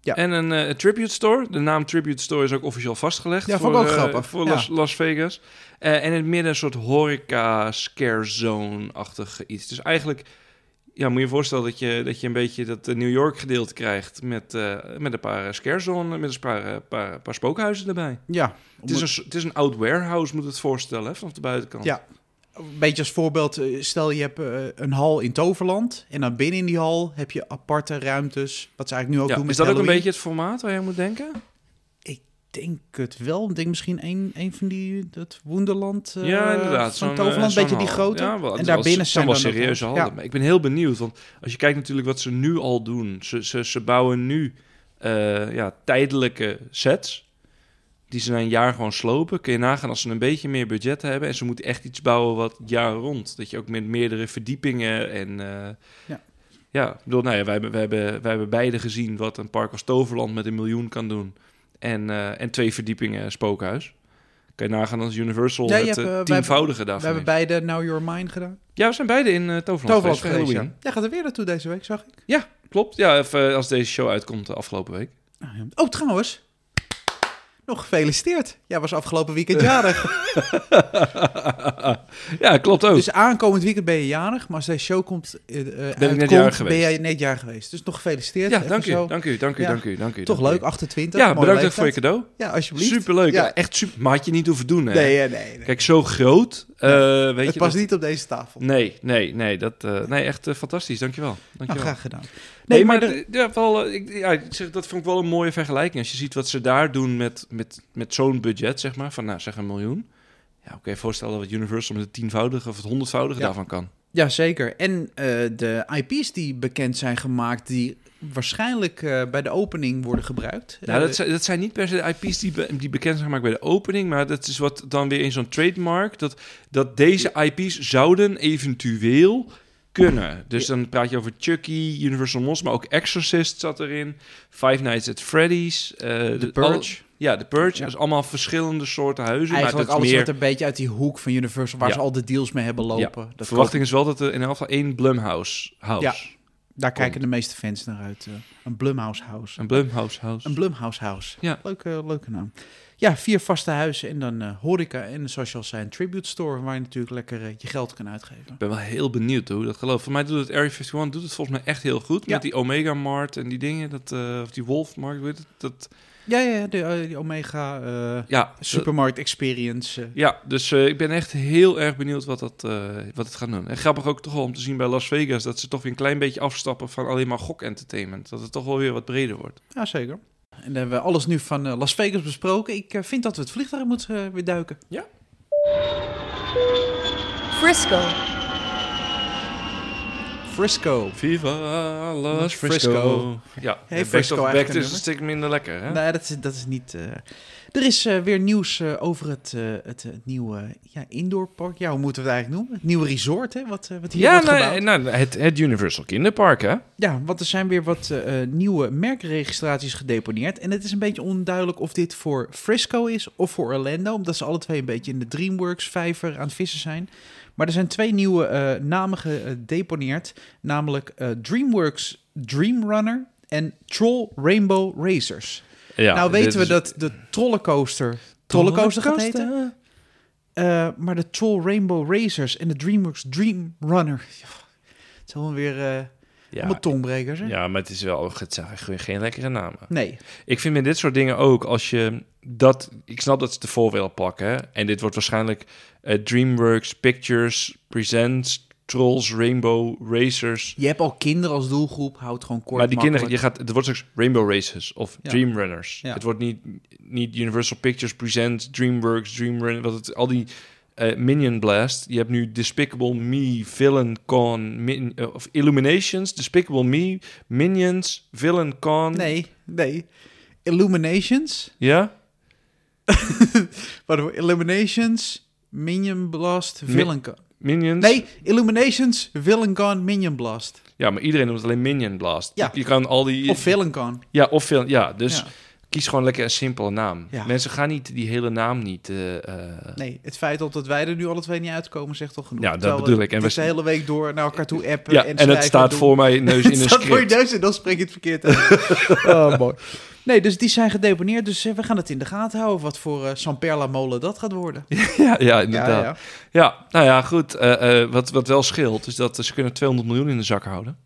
B: Ja.
C: En een eh, tribute store. De naam tribute store is ook officieel vastgelegd.
B: Ja,
C: voor,
B: vond ik ook
C: eh,
B: grappig.
C: Voor
B: Ja.
C: Las, Las Vegas. Eh, en in het midden een soort horeca scare zone-achtig iets. Dus eigenlijk ja, moet je je voorstellen dat je, dat je een beetje dat eh, New York gedeelte krijgt... met, eh, met een paar eh, scare zone, met een paar, eh, paar, paar spookhuizen erbij.
B: Ja,
C: Het is, een, s- het is een oud warehouse, moet het voorstellen, hè, vanaf de buitenkant.
B: Ja. Een beetje als voorbeeld, eh, stel je hebt eh, een hal in Toverland. En dan binnen in die hal heb je aparte ruimtes. Wat ze eigenlijk nu ook
C: Ja,
B: doen met
C: is dat ook een
B: Halloween.
C: beetje het formaat waar je aan moet denken?
B: Ik denk het wel. Ik denk misschien een, een van die, dat Wonderland. eh,
C: ja, inderdaad.
B: Van
C: zo'n,
B: Toverland,
C: eh,
B: een beetje
C: zo'n
B: die
C: hal.
B: grote.
C: Ja, wel, het
B: en
C: is
B: daar
C: wel-
B: binnen
C: het
B: zijn
C: wel
B: dan ook
C: serieuze
B: nog-
C: handen. Maar ik ben heel benieuwd, want als je kijkt natuurlijk wat ze nu al doen. Ze, ze, ze bouwen nu eh, ja, tijdelijke sets. Die ze na een jaar gewoon slopen. Kun je nagaan als ze een beetje meer budget hebben. En ze moeten echt iets bouwen wat het jaar rond. Dat je ook met meerdere verdiepingen en... eh,
B: Ja.
C: ja, ik bedoel, nou ja, wij, hebben- wij, hebben, wij hebben beide gezien wat een park als Toverland met een miljoen kan doen. En, eh, en twee verdiepingen spookhuis. Kan je nagaan als Universal
B: Ja, je
C: het
B: hebt,
C: eh,
B: eh, wij-
C: tienvoudige
B: Ja. We
C: daarvan
B: hebben
C: heeft.
B: beide Now Your Mine gedaan.
C: Ja, we zijn beide in eh Toverland,
B: Toverland
C: geweest
B: geweest,
C: voor
B: ja. Jij gaat er weer naartoe deze week, zag ik.
C: Ja. klopt. Ja, of, eh, als deze show uitkomt de afgelopen week.
B: Ah, ja. Oh, trouwens. Nog gefeliciteerd. Jij Jij was afgelopen weekend
C: Oh.
B: jarig.
C: ja, klopt ook.
B: Dus aankomend weekend ben je jarig. Maar als deze show komt, eh, eh, uitkomt,
C: net jarig
B: ben
C: geweest.
B: jij net jaar geweest. Dus nog gefeliciteerd.
C: ja,
B: Even
C: dank u,
B: zo.
C: dank u, dank u,
B: Ja.
C: dank u, dank u.
B: Toch
C: dank u.
B: leuk, 28.
C: Ja,
B: mooie
C: bedankt
B: leeftijd.
C: voor je cadeau.
B: Ja, alsjeblieft.
C: Superleuk.
B: Ja.
C: Ja. Echt super. Maar had je niet hoeven doen, hè?
B: Nee, eh, nee, nee.
C: Kijk, zo groot. eh, weet
B: Het
C: je,
B: past
C: dat-
B: niet op deze tafel.
C: Nee, nee, nee. Dat, eh, nee, echt eh, fantastisch. Dankjewel.
B: Nou,
C: Dankjewel.
B: graag gedaan. Nee,
C: Nee, maar,
B: maar, de-
C: d- ja, wel, eh, ik, ja, ik zeg, dat vond ik wel een mooie vergelijking. Als je ziet wat ze daar doen met, met, met zo'n budget, zeg maar, van nou, zeg een miljoen. Ja, oké, voorstellen wat Universal met het tienvoudige of het honderdvoudige
B: Ja.
C: daarvan kan.
B: Ja, zeker. En eh, de IP's die bekend zijn gemaakt, die waarschijnlijk eh, bij de opening worden gebruikt. Eh,
C: Nou, dat, zijn, dat zijn niet per se de IP's die, be- die bekend zijn gemaakt bij de opening, maar dat is wat dan weer in zo'n trademark, dat, dat deze IP's zouden eventueel kunnen. Dus dan praat je over Chucky, Universal Monsters, maar ook Exorcist zat erin, Five Nights at Freddy's. eh, de-
B: Purge.
C: al- ja, de Purge.
B: Ja.
C: Dat is allemaal verschillende soorten huizen.
B: Eigenlijk
C: maar dat
B: alles
C: is meer,
B: wat een beetje uit die hoek van Universal, waar
C: Ja.
B: ze al de deals mee hebben
C: Ja,
B: lopen.
C: De
B: Dat
C: verwachting is wel dat er in elk geval één Blumhouse house.
B: Ja. daar kijken de meeste fans naar uit. eh. een Blumhouse House.
C: Een Blumhouse house.
B: Een Blumhouse House.
C: Ja.
B: Leuke, leuke naam. Ja, vier vaste huizen en dan eh, horeca. En zoals je al zei, een tribute store waar je natuurlijk lekker eh, je geld kan uitgeven.
C: Ik ben wel heel benieuwd hoe dat gelooft. Voor mij doet het Area 51 doet het volgens mij echt heel goed.
B: Ja.
C: Met die Omega Mart en die dingen. Dat, eh, of die Wolf Mart, weet het. Dat,
B: Ja, ja, ja, de, eh, die Omega eh,
C: ja, dat-
B: Supermarkt Experience. eh.
C: ja, dus eh, ik ben echt heel erg benieuwd wat, dat, eh, wat het gaat doen. En grappig ook toch wel om te zien bij Las Vegas... dat ze toch weer een klein beetje afstappen van alleen maar gok-entertainment. Dat het toch wel weer wat breder wordt.
B: Ja, zeker. En dan hebben we alles nu van eh, Las Vegas besproken. Ik eh, vind dat we het vliegtuig moeten eh, weer duiken.
A: Frisco.
B: Frisco.
C: Viva Las
B: Frisco.
C: Frisco. Ja,
B: Hey,
C: de best
B: Frisco
C: of back
B: eigenlijk een
C: is
B: nummer.
C: een stuk minder lekker, hè?
B: Nee, Nou dat is, dat is niet... eh, Er is eh, weer nieuws eh, over het, eh, het, eh, het nieuwe ja, indoorpark. Ja, hoe moeten we het eigenlijk noemen? Het nieuwe resort, hè? Wat, eh, wat hier
C: Ja,
B: wordt
C: nou,
B: gebouwd.
C: nou, het, het Universal Kinderpark, hè?
B: Ja, want er zijn weer wat eh, eh, nieuwe merkregistraties gedeponeerd. En het is een beetje onduidelijk of dit voor Frisco is of voor Orlando. Omdat ze alle twee een beetje in de DreamWorks-vijver aan het vissen zijn. Maar er zijn twee nieuwe eh, namen gedeponeerd. Namelijk eh, DreamWorks Dreamrunner en Troll Rainbow Racers.
C: Ja,
B: nou
C: dit
B: weten we
C: is-
B: dat de Trollencoaster Trollencoaster gaat heten. Eh, maar de Troll Rainbow Racers en de DreamWorks Dreamrunner. Ja, het is allemaal weer eh
C: Ja,
B: allemaal tongbrekers, hè?
C: ja, maar het is wel oh, het zijn eigenlijk geen lekkere namen.
B: Nee.
C: Ik vind met dit soort dingen ook, als je dat... Ik snap dat ze de voor willen pakken, hè? En dit wordt waarschijnlijk eh, DreamWorks, Pictures, Presents, Trolls, Rainbow, Racers.
B: Je hebt al kinderen als doelgroep, houd gewoon kort.
C: maar die kinderen, je
B: makkelijk.
C: gaat, het wordt straks Rainbow Racers of
B: Ja.
C: Dreamrunners.
B: Ja.
C: Het wordt niet, niet Universal Pictures Presents, DreamWorks, Dreamrun, wat het, al die eh, Minion Blast. Je hebt nu Despicable Me, Villain Con, Min- eh, of Illuminations, Despicable Me, Minions, Villain Con.
B: Nee, nee. Illuminations.
C: Ja?
B: Waardoor Illuminations, Minion Blast, Villain Gun.
C: Minions?
B: Nee, Illuminations, Villain Gun, Minion Blast.
C: Ja, maar iedereen noemt het alleen Minion Blast.
B: Ja.
C: Je kan al die...
B: Of Villain Gun.
C: Ja, of Villain. Ja, dus
B: Ja.
C: kies gewoon lekker een simpele naam.
B: Ja.
C: Mensen gaan niet die hele naam niet... eh, eh,
B: Nee, het feit al dat wij er nu alle twee niet uitkomen zegt al genoeg.
C: Ja, dat
B: Terwijl we
C: bedoel ik. En
B: dit
C: we-
B: de hele week door naar elkaar toe appen
C: ja,
B: en
C: en,
B: schrijven
C: het staat
B: doen.
C: voor mij neus in
B: Het
C: een
B: staat voor je
C: script.
B: neus en dan spreek je het verkeerd uit. oh, mooi. Nee, dus die zijn gedeponeerd. Dus eh, we gaan het in de gaten houden wat voor eh San Perla molen dat gaat worden.
C: Ja, ja, inderdaad. Ja, nou ja, goed. eh, eh, wat, wat wel scheelt, is dat eh, ze kunnen 200 miljoen in de zak houden.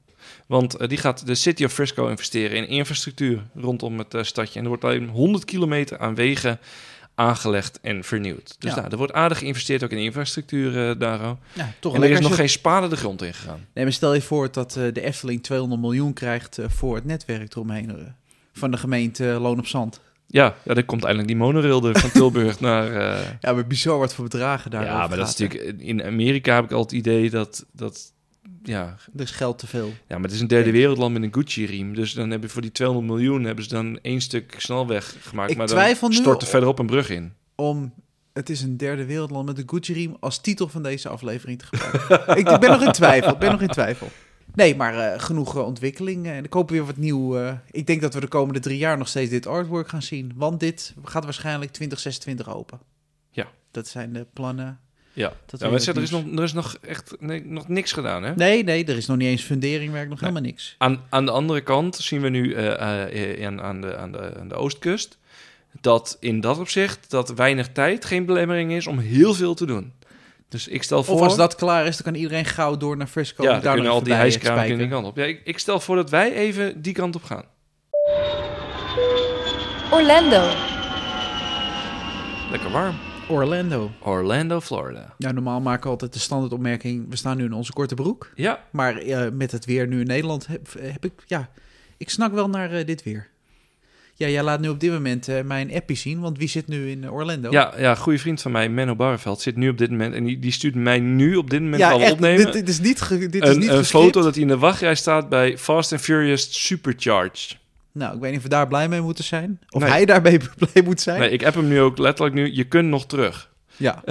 C: Want eh, die gaat de City of Frisco investeren in infrastructuur rondom het eh, stadje. En er wordt alleen 100 kilometer aan wegen aangelegd en vernieuwd. Dus
B: Ja.
C: nou, er wordt aardig geïnvesteerd ook in infrastructuur, eh Daro.
B: Ja, toch
C: en er
B: lekker
C: is
B: als
C: nog
B: je-
C: geen spade de grond ingegaan.
B: Nee, maar stel je voor dat eh, de Efteling 200 miljoen krijgt eh, voor het netwerk eromheen. eh, van de gemeente Loon op Zand.
C: Ja, ja, daar komt eindelijk die monorail er van Tilburg naar... eh,
B: Ja, maar bizar wat voor bedragen daar.
C: ja, maar dat is natuurlijk... In Amerika heb ik al het idee dat... dat ja,
B: Er is geld te veel.
C: Ja, maar het is een derde
B: Denk
C: wereldland met een Gucci-riem. Dus dan hebben voor die 200 miljoen hebben ze dan één stuk snelweg gemaakt.
B: Ik
C: maar
B: twijfel nu
C: dan stort er
B: of-
C: verderop een brug in.
B: Om het is een derde wereldland met de Gucci-riem als titel van deze aflevering te gebruiken. ik, ik ben nog in twijfel. Ik ben nog in twijfel. Nee, maar eh, genoeg eh, ontwikkeling. En ik hoop weer wat nieuw. eh, ik denk dat we de komende drie jaar nog steeds dit artwork gaan zien. Want dit gaat waarschijnlijk 2026 open.
C: Ja.
B: Dat zijn de plannen.
C: Ja,
B: Dat weet
C: ja maar
B: ik
C: zeg, er, is
B: niet.
C: nog, er is nog echt nee, nog niks gedaan, hè?
B: Nee, nee, er is nog niet eens funderingwerk, nog
C: Nee.
B: helemaal niks.
C: Aan, aan de andere kant zien we nu eh, eh, eh, aan, aan, de, aan, de, aan de oostkust... dat in dat opzicht dat weinig tijd geen belemmering is om heel veel te doen. Dus ik stel voor...
B: Of als dat klaar is, dan kan iedereen gauw door naar Frisco.
C: ja,
B: en
C: dan
B: daar
C: kunnen
B: nog
C: al die
B: even bij
C: hijskramen kunnen die
B: spijken.
C: kant op. Ja, ik, ik stel voor dat wij even die kant op gaan.
A: Orlando.
C: Lekker warm.
B: Orlando.
C: Orlando, Florida.
B: Ja, normaal maken we altijd de standaardopmerking... we staan nu in onze korte broek.
C: Ja,
B: Maar eh, met het weer nu in Nederland heb, heb ik... Ja, ik snak wel naar eh, dit weer. Ja, jij laat nu op dit moment eh, mijn appie zien... want wie zit nu in eh, Orlando?
C: ja, ja, goede vriend van mij, Menno Barreveld, zit nu op dit moment... en die, die stuurt mij nu op dit moment
B: Ja,
C: al
B: echt,
C: opnemen...
B: Dit, dit is niet, ge- dit is
C: een,
B: niet
C: een
B: gescript.
C: foto dat hij in de wachtrij staat bij Fast and Furious Supercharged.
B: Nou, ik weet niet of we daar blij mee moeten zijn. Of
C: Nee.
B: hij daarmee blij moet zijn.
C: Nee, ik heb hem nu ook letterlijk nu. Je kunt nog terug.
B: Ja.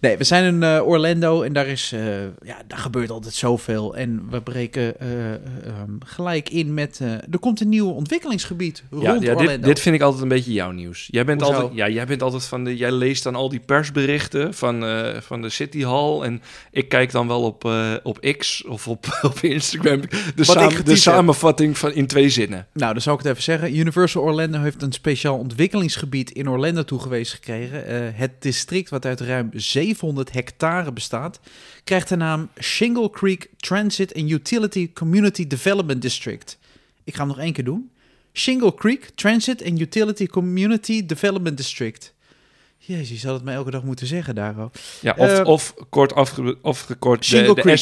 B: nee, we zijn in eh, Orlando en daar, is, eh, ja, daar gebeurt altijd zoveel. En we breken eh, ehm, gelijk in met... eh, er komt een nieuw ontwikkelingsgebied
C: Ja,
B: rond
C: ja,
B: Orlando.
C: dit, dit vind ik altijd een beetje jouw nieuws. Jij bent,
B: Hoezo?
C: altijd, ja, jij bent altijd van de. Jij leest dan al die persberichten van, eh, van de City Hall. En ik kijk dan wel op, eh, op X of op, op Instagram. De, saam-
B: getypt
C: de
B: heb.
C: samenvatting van, in twee zinnen.
B: Nou, dan zal ik het even zeggen. Universal Orlando heeft een speciaal ontwikkelingsgebied in Orlando toegewezen gekregen. Eh, het district, wat uit ruim 700 hectare bestaat, krijgt de naam Shingle Creek Transit and Utility Community Development District. Ik ga hem nog één keer doen. Shingle Creek Transit and Utility Community Development District. Jezus, je had het mij elke dag moeten zeggen daarover.
C: Ja, of,
B: Eh,
C: of kort afge, afgekort de,
B: Shingle
C: de
B: Creek.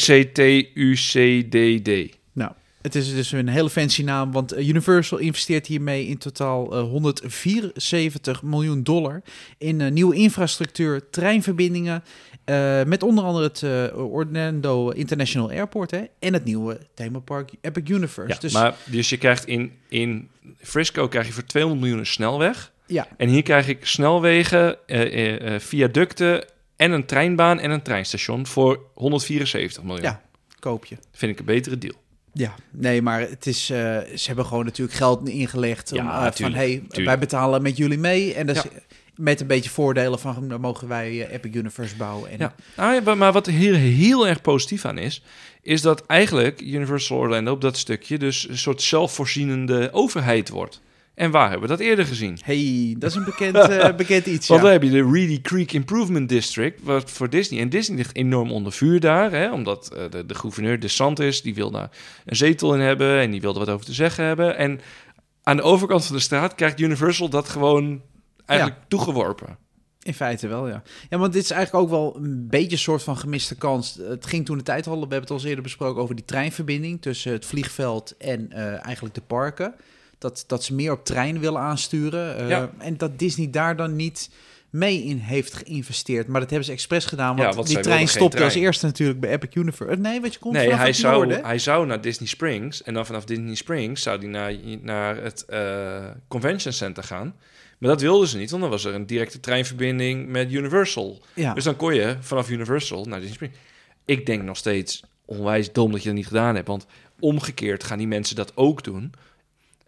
C: SCTUCDD.
B: Nou, het is dus een hele fancy naam, want eh, Universal investeert hiermee in totaal eh, 174 miljoen dollar in eh, nieuwe infrastructuur, treinverbindingen, eh, met onder andere het eh, Orlando International Airport hè, en het nieuwe themapark Epic Universe.
C: Ja,
B: dus
C: maar, dus je krijgt in, in Frisco krijg je voor 200 miljoen een snelweg.
B: ja,
C: En hier krijg ik snelwegen, eh, eh, eh, viaducten en een treinbaan en een treinstation voor 174 miljoen.
B: ja, koop je.
C: Vind ik een betere deal.
B: Ja, nee, maar het is, eh, ze hebben gewoon natuurlijk geld ingelegd. om,
C: Ja,
B: eh, van
C: tuurlijk,
B: hey,
C: tuurlijk.
B: wij betalen met jullie mee. En dat is
C: Ja.
B: met een beetje voordelen van dan mogen wij eh, Epic Universe bouwen. En
C: Ja. Ah, ja, maar- maar wat hier heel erg positief aan is, is dat eigenlijk Universal Orlando op dat stukje dus een soort zelfvoorzienende overheid wordt. En waar hebben we dat eerder gezien?
B: Hey, dat is een bekend, eh, bekend iets.
C: Want
B: ja.
C: dan heb je de Reedy Creek Improvement District wat voor Disney. En Disney ligt enorm onder vuur daar. Hè, omdat eh, de, de gouverneur DeSantis, die wil daar een zetel in hebben. En die wilde wat over te zeggen hebben. En aan de overkant van de straat krijgt Universal dat gewoon eigenlijk toegeworpen.
B: In feite wel, ja. Ja, want dit is eigenlijk ook wel een beetje een soort van gemiste kans. Eh, Het ging toen de tijd al, we hebben het al eens eerder besproken over die treinverbinding tussen het vliegveld en eh, eigenlijk de parken. Dat, dat ze meer op trein willen aansturen. eh,
C: Ja.
B: En dat Disney daar dan niet mee in heeft geïnvesteerd. Maar dat hebben ze expres gedaan, want,
C: Ja, want
B: die
C: zij
B: trein
C: wilden geen
B: stopte als
C: trein.
B: eerste natuurlijk bij Epic Universe. Eh, Nee, wat je komt
C: Nee,
B: vanaf
C: hij
B: het
C: zou,
B: noorden.
C: hij zou naar Disney Springs. En dan vanaf Disney Springs zou hij naar, naar het eh, Convention Center gaan. Maar dat wilden ze niet, want dan was er een directe treinverbinding met Universal.
B: Ja.
C: Dus dan kon je vanaf Universal naar Disney Springs. Ik denk nog steeds onwijs dom dat je dat niet gedaan hebt. Want omgekeerd gaan die mensen dat ook doen.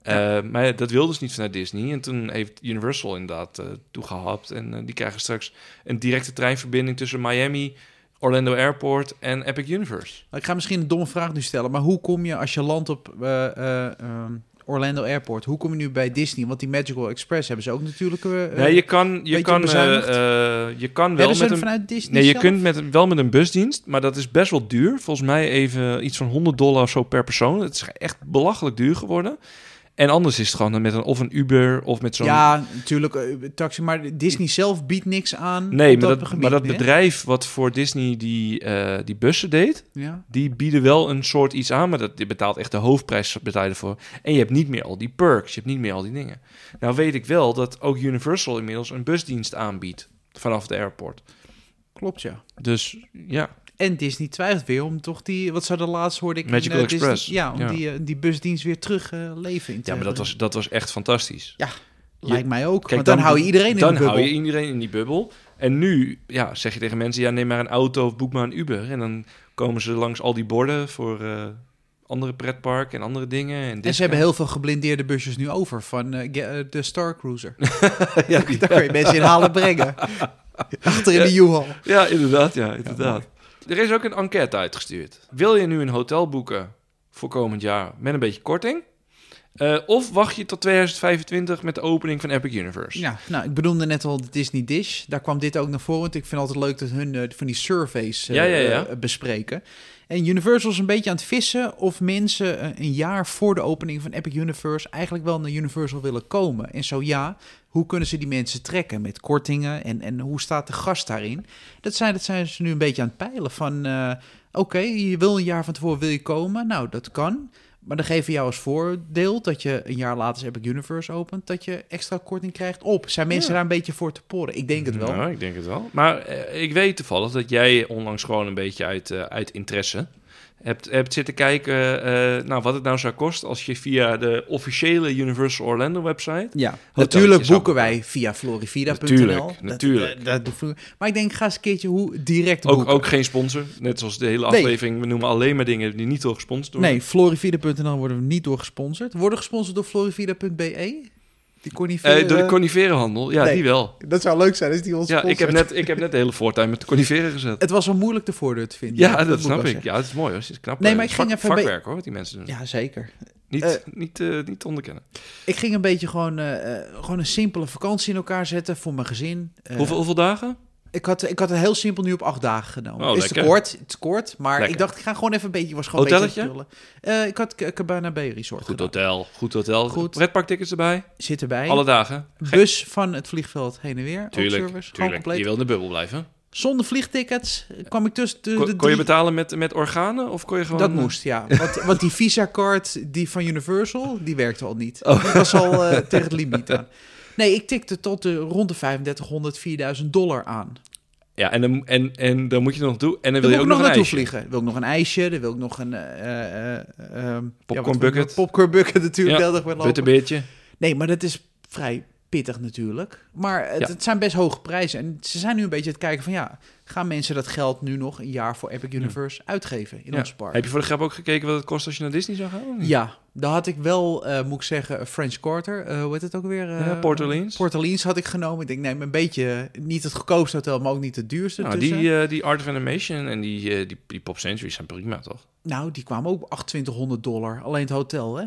C: Eh, maar ja, dat wilden ze niet vanuit Disney. En toen heeft Universal inderdaad eh toegehapt. En eh, die krijgen straks een directe treinverbinding tussen Miami, Orlando Airport en Epic Universe.
B: Ik ga misschien een domme vraag nu stellen, maar hoe kom je als je landt op eh, eh, ehm, Orlando Airport, hoe kom je nu bij Disney? Want die Magical Express hebben ze ook natuurlijk. eh,
C: Nee, je kan, je
B: beetje
C: kan, eh,
B: bezuinigd?
C: eh, je kan wel
B: hebben ze
C: met
B: hem
C: een...
B: vanuit Disney
C: Nee, je
B: zelf?
C: kunt met, een- wel met een busdienst, maar dat is best wel duur. Volgens mij even iets van 100 dollar zo per persoon. Het is echt belachelijk duur geworden. En anders is het gewoon met een, of een Uber of met zo'n...
B: Ja, natuurlijk, eh, taxi, maar Disney zelf biedt niks aan.
C: nee,
B: op
C: maar dat,
B: gebied,
C: maar dat
B: hè?
C: bedrijf wat voor Disney die, eh, die bussen deed,
B: Ja.
C: die bieden wel een soort iets aan, maar dat, die betaalt echt de hoofdprijs betalen voor. En je hebt niet meer al die perks, je hebt niet meer al die dingen. Nou weet ik wel dat ook Universal inmiddels een busdienst aanbiedt vanaf de airport.
B: Klopt ja.
C: Dus ja,
B: En Disney twijfelt weer om toch die, wat zou de laatst hoorde ik. in,
C: Magical
B: eh, Disney-
C: Express.
B: ja, om
C: Ja.
B: Die, eh, die busdienst weer terug eh, leven in te
C: ja maar dat
B: brengen.
C: was, dat was echt fantastisch.
B: Lijkt mij ook. want dan, hou je iedereen
C: dan
B: in de bubbel.
C: hou je iedereen in die bubbel. En nu ja, zeg je tegen mensen, ja, neem maar een auto of boek maar een Uber. En dan komen ze langs al die borden voor eh, andere pretparken en andere dingen. En,
B: En ze hebben heel veel geblindeerde busjes nu over van eh, ge- eh, de Star Cruiser.
C: heel... ja, die-
B: Daar kun je mensen in halen en brengen. Achter in de U-Haul.
C: ja, inderdaad, ja, inderdaad. er is ook een enquête uitgestuurd. Wil je nu een hotel boeken voor komend jaar met een beetje korting? Eh, of wacht je tot 2025 met de opening van Epic Universe?
B: Ja, nou, ik bedoelde net al de Disney Dish. Daar kwam dit ook naar voren. Want ik vind altijd leuk dat hun eh, van die surveys eh,
C: Ja, ja, ja.
B: eh, bespreken. En Universal is een beetje aan het vissen of mensen eh, een jaar voor de opening van Epic Universe eigenlijk wel naar Universal willen komen. En zo ja, hoe kunnen ze die mensen trekken met kortingen en, en hoe staat de gast daarin? Dat zijn, dat zijn ze nu een beetje aan het peilen van, eh, oké, je wil een jaar van tevoren wil je komen. Nou, dat kan. Maar dan geven we jou als voordeel dat je een jaar later als Epic Universe opent, dat je extra korting krijgt op. Zijn mensen daar een beetje voor te poren? Ik denk het wel.
C: Nou, ik denk het wel. Maar eh, ik weet toevallig dat jij onlangs gewoon een beetje uit, eh, uit interesse hebt, hebt zitten kijken eh, eh, nou, wat het nou zou kosten als je via de officiële Universal Orlando website.
B: Ja,
C: Hoteltje
B: natuurlijk
C: zou-
B: boeken wij via florivida.nl.
C: Natuurlijk,
B: Dat-
C: natuurlijk.
B: Dat, dat doen we. maar ik denk, ga eens een keertje hoe direct
C: Ook,
B: boeken.
C: ook geen sponsor. Net zoals de hele
B: Nee.
C: aflevering. We noemen alleen maar dingen die niet door gesponsord worden.
B: nee, florivida.nl worden we niet door gesponsord. Worden gesponsord door florivida.be? e? Die kon niet
C: Eh,
B: veel,
C: door de
B: eh,
C: coniferenhandel. Ja,
B: Nee.
C: die wel.
B: Dat zou leuk zijn als die ons
C: Ja, ik heb,
B: sponsort.
C: net, ik heb net de hele voortuin met de coniferen gezet.
B: Het was al moeilijk de voordeur te vinden.
C: Ja, dat,
B: moet
C: snap
B: wel
C: ik.
B: zeggen.
C: Ja, dat is mooi hoor. Dat is knap.
B: Nee,
C: eh,
B: maar ik ging
C: vak-
B: even een
C: vakwerk hoor, wat die mensen doen.
B: Ja, zeker.
C: Niet,
B: eh,
C: niet, eh, niet te onderkennen.
B: Ik ging een beetje gewoon, eh, eh, gewoon een simpele vakantie in elkaar zetten voor mijn gezin. Eh,
C: hoeveel, hoeveel dagen?
B: Ik had, ik had het heel simpel nu op acht dagen genomen.
C: Oh,
B: is te
C: lekker.
B: kort, het is kort, maar
C: Lekker.
B: ik dacht ik ga gewoon even een beetje... Was gewoon een beetje
C: Hotelletje?
B: aan het chillen. Eh, ik had K- Cabana Bay Resort
C: Goed
B: gedaan.
C: hotel, goed hotel.
B: Goed.
C: Pretparktickets erbij.
B: Zit erbij.
C: Alle dagen.
B: Bus van het vliegveld heen en weer. ook
C: Tuurlijk,
B: service, gewoon
C: tuurlijk.
B: compleet.
C: Je wil in de bubbel blijven.
B: Zonder vliegtickets eh, kwam ik tussen de, de
C: Kon, kon je
B: drie-
C: betalen met, met organen of kon je gewoon... eh,
B: Dat moest, ja. Want, want die Visa-card die van Universal, die werkte al niet.
C: Oh.
B: Die was al eh, tegen het limiet aan. Nee, ik tikte tot de rond de 3500, 4000 dollar aan.
C: Ja, en dan, en, en dan moet je nog doen. En dan
B: Daar wil
C: wil je
B: ik
C: ook
B: nog
C: nog een
B: naartoe
C: ijsje.
B: vliegen. Wil ik nog een ijsje, dan wil ik nog een... eh, eh, ehm, ja,
C: Popcorn
B: wat wil ik
C: bucket.
B: nog? Popcorn bucket natuurlijk,
C: Ja,
B: de hele dag met lopen.
C: Bitterbeertje.
B: Nee, maar dat is vrij pittig natuurlijk. Maar het,
C: Ja.
B: het zijn best hoge prijzen. En ze zijn nu een beetje aan het kijken van ja, gaan mensen dat geld nu nog een jaar voor Epic Universe uitgeven in
C: Ja.
B: ons park?
C: Heb je voor de grap ook gekeken wat het kost als je naar Disney zou gaan? of niet?
B: Ja, daar had ik wel, eh, moet ik zeggen, een French Quarter. eh, hoe heet het ook weer? eh,
C: Ja, Port Orleans.
B: Port Orleans had ik genomen. Ik denk, neem een beetje, eh, niet het goedkoopste hotel, maar ook niet het duurste.
C: Nou, die,
B: tussen.
C: eh, die Art of Animation en die, eh, die, die Pop Century zijn prima, toch?
B: nou, die kwamen ook 2800 dollar, alleen het hotel, hè?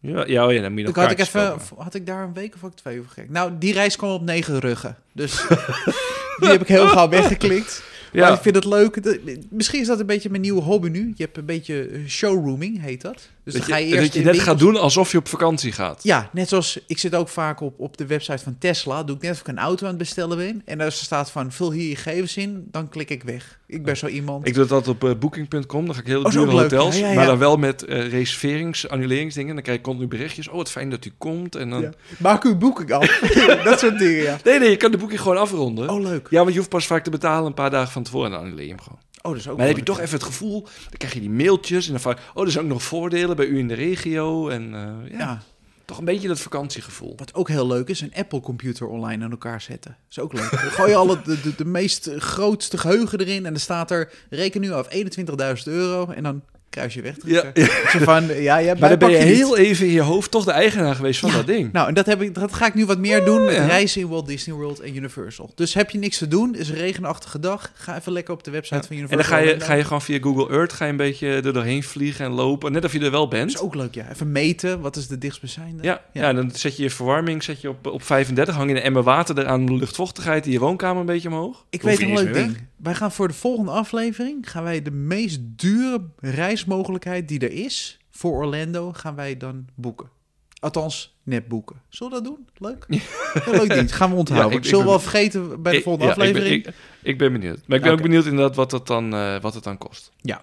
C: Ja, ja, oh ja dan moet je nog
B: Dan had ik,
C: kaartjes
B: even,
C: kopen.
B: had ik daar een week of ook twee over gek. Nou, die reis kwam op negen ruggen. Dus die heb ik heel gauw weggeklikt.
C: Ja.
B: Maar ik vind het leuk. De- Misschien is dat een beetje mijn nieuwe hobby nu. Je hebt een beetje eh, showrooming, heet dat. Dus dan
C: dat je,
B: ga je eerst
C: dat je
B: in
C: net
B: winkels-
C: gaat doen alsof je op vakantie gaat.
B: Ja, net zoals ik zit ook vaak op, op de website van Tesla. Doe ik net of ik een auto aan het bestellen ben. En als er staat van vul hier je gegevens in, dan klik ik weg. Ik ben zo iemand.
C: Ik doe dat op eh, booking.com. Dan ga ik hele
B: Oh, is
C: dure
B: ook leuk.
C: hotels.
B: Ja, ja, ja.
C: Maar dan wel met eh, reserverings, annuleringsdingen. Dan krijg je continu berichtjes. Oh, wat fijn dat u komt. En dan...
B: Ja. Maak uw boeking af. dat soort dingen, ja.
C: Nee, nee, je kan de boeking gewoon afronden.
B: Oh, leuk.
C: Ja, want je hoeft pas vaak te betalen een paar dagen van tevoren. En dan annuleer je hem gewoon.
B: Oh, dat is ook
C: maar dan
B: leuk.
C: heb je toch even het gevoel... Dan krijg je die mailtjes en dan vaak... Oh, er zijn ook nog voordelen bij u in de regio. En eh, ja,
B: Ja,
C: toch een beetje dat vakantiegevoel.
B: Wat ook heel leuk is, een Apple-computer online aan elkaar zetten. Is ook leuk. Dan gooi je alle de, de, de meest grootste geheugen erin en dan staat er, reken nu af 21.000 euro en dan kruis je weg.
C: Ja,
B: Zo van, ja, ja,
C: Maar dan ben je
B: niet.
C: heel even in je hoofd toch de eigenaar geweest van dat ding.
B: Nou, en dat, heb ik, dat ga ik nu wat meer doen met
C: Oh, ja.
B: reizen in Walt Disney World en Universal. Dus heb je niks te doen, is een regenachtige dag, ga even lekker op de website van
C: en
B: Universal.
C: dan ga je,
B: Orlando.
C: ga je gewoon via Google Earth ga je een beetje er doorheen vliegen en lopen. Net of je er wel bent.
B: Dat is ook leuk, ja. Even meten, wat is de dichtstbijzijnde?
C: Ja, ja. dan zet je je verwarming zet je op, op 35, hang je een emmer water eraan de luchtvochtigheid in je woonkamer een beetje omhoog.
B: Ik
C: Dan hoef
B: weet
C: je
B: een
C: niet
B: leuk
C: eens meer
B: ding. Wij gaan voor de volgende aflevering gaan wij de meest dure reismogelijkheid die er is voor Orlando gaan wij dan boeken. Althans, net boeken. Zullen we dat doen? Leuk. Heel leuk ding. Gaan we onthouden.
C: Ja, ik- ik
B: Zullen we
C: ben-
B: wel vergeten bij de
C: Ik-
B: volgende
C: ja, ik ben-
B: aflevering?
C: Ik ben, ik, ben benieuwd. Maar ik ben
B: Oké.
C: ook benieuwd inderdaad wat het dan, eh, wat het dan kost.
B: Ja.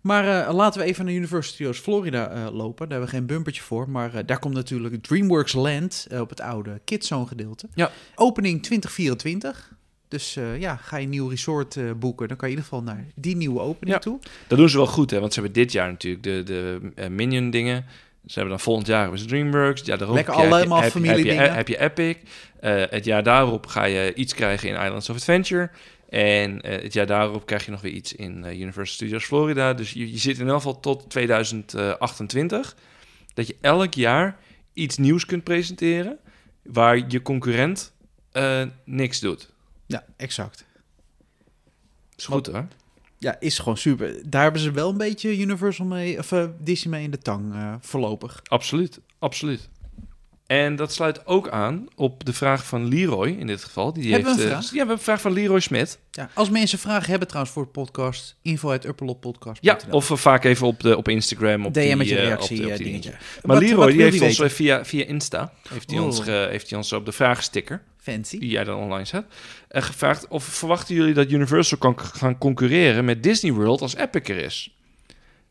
B: Maar eh, laten we even naar Universal Studios Florida eh, lopen. Daar hebben we geen bumpertje voor. Maar eh, daar komt natuurlijk DreamWorks Land eh, op het oude Kidzone gedeelte.
C: Ja.
B: Opening 2024. Dus eh, ja, ga je een nieuw resort eh, boeken. Dan kan je in ieder geval naar die nieuwe opening
C: Ja.
B: toe.
C: Dat doen ze wel goed, hè? Want ze hebben dit jaar natuurlijk de, de eh, Minion dingen. Ze hebben dan volgend jaar hebben ze DreamWorks. Ja, daarop
B: Lekker
C: heb je- heb je-
B: allemaal
C: heb je- Heb
B: familiedingen.
C: je, heb je Epic. Eh, het jaar daarop ga je iets krijgen in Islands of Adventure. En eh, het jaar daarop krijg je nog weer iets in eh, Universal Studios Florida. Dus je, je zit in elk geval tot 2028. Dat je elk jaar iets nieuws kunt presenteren. Waar je concurrent eh, niks doet.
B: Ja, exact.
C: Is goed hoor.
B: Ja, is gewoon super. Daar hebben ze wel een beetje Universal mee, of eh, Disney mee in de tang eh, voorlopig.
C: Absoluut. absoluut. En dat sluit ook aan op de vraag van Leroy in dit geval. Die
B: Hebben we
C: heeft,
B: een
C: eh,
B: vraag?
C: ja, we hebben een vraag van Leroy Smit.
B: Ja, als mensen vragen hebben trouwens voor de podcast, info uit
C: Ja, of eh, vaak even op, de, op Instagram. Op die,
B: DM met je
C: eh, op
B: reactie
C: die- op
B: eh,
C: die
B: dingetje.
C: Maar
B: Wat-
C: Leroy
B: wat
C: die
B: wil
C: heeft
B: die
C: ons eh,
B: weten?
C: via, via Insta, heeft hij
B: Oh.
C: ons, ge- heeft hij ons op de vraagsticker,
B: Fancy.
C: die jij dan online zet, eh, gevraagd of verwachten jullie dat Universal kan k- gaan concurreren met Disney World als Epic er is?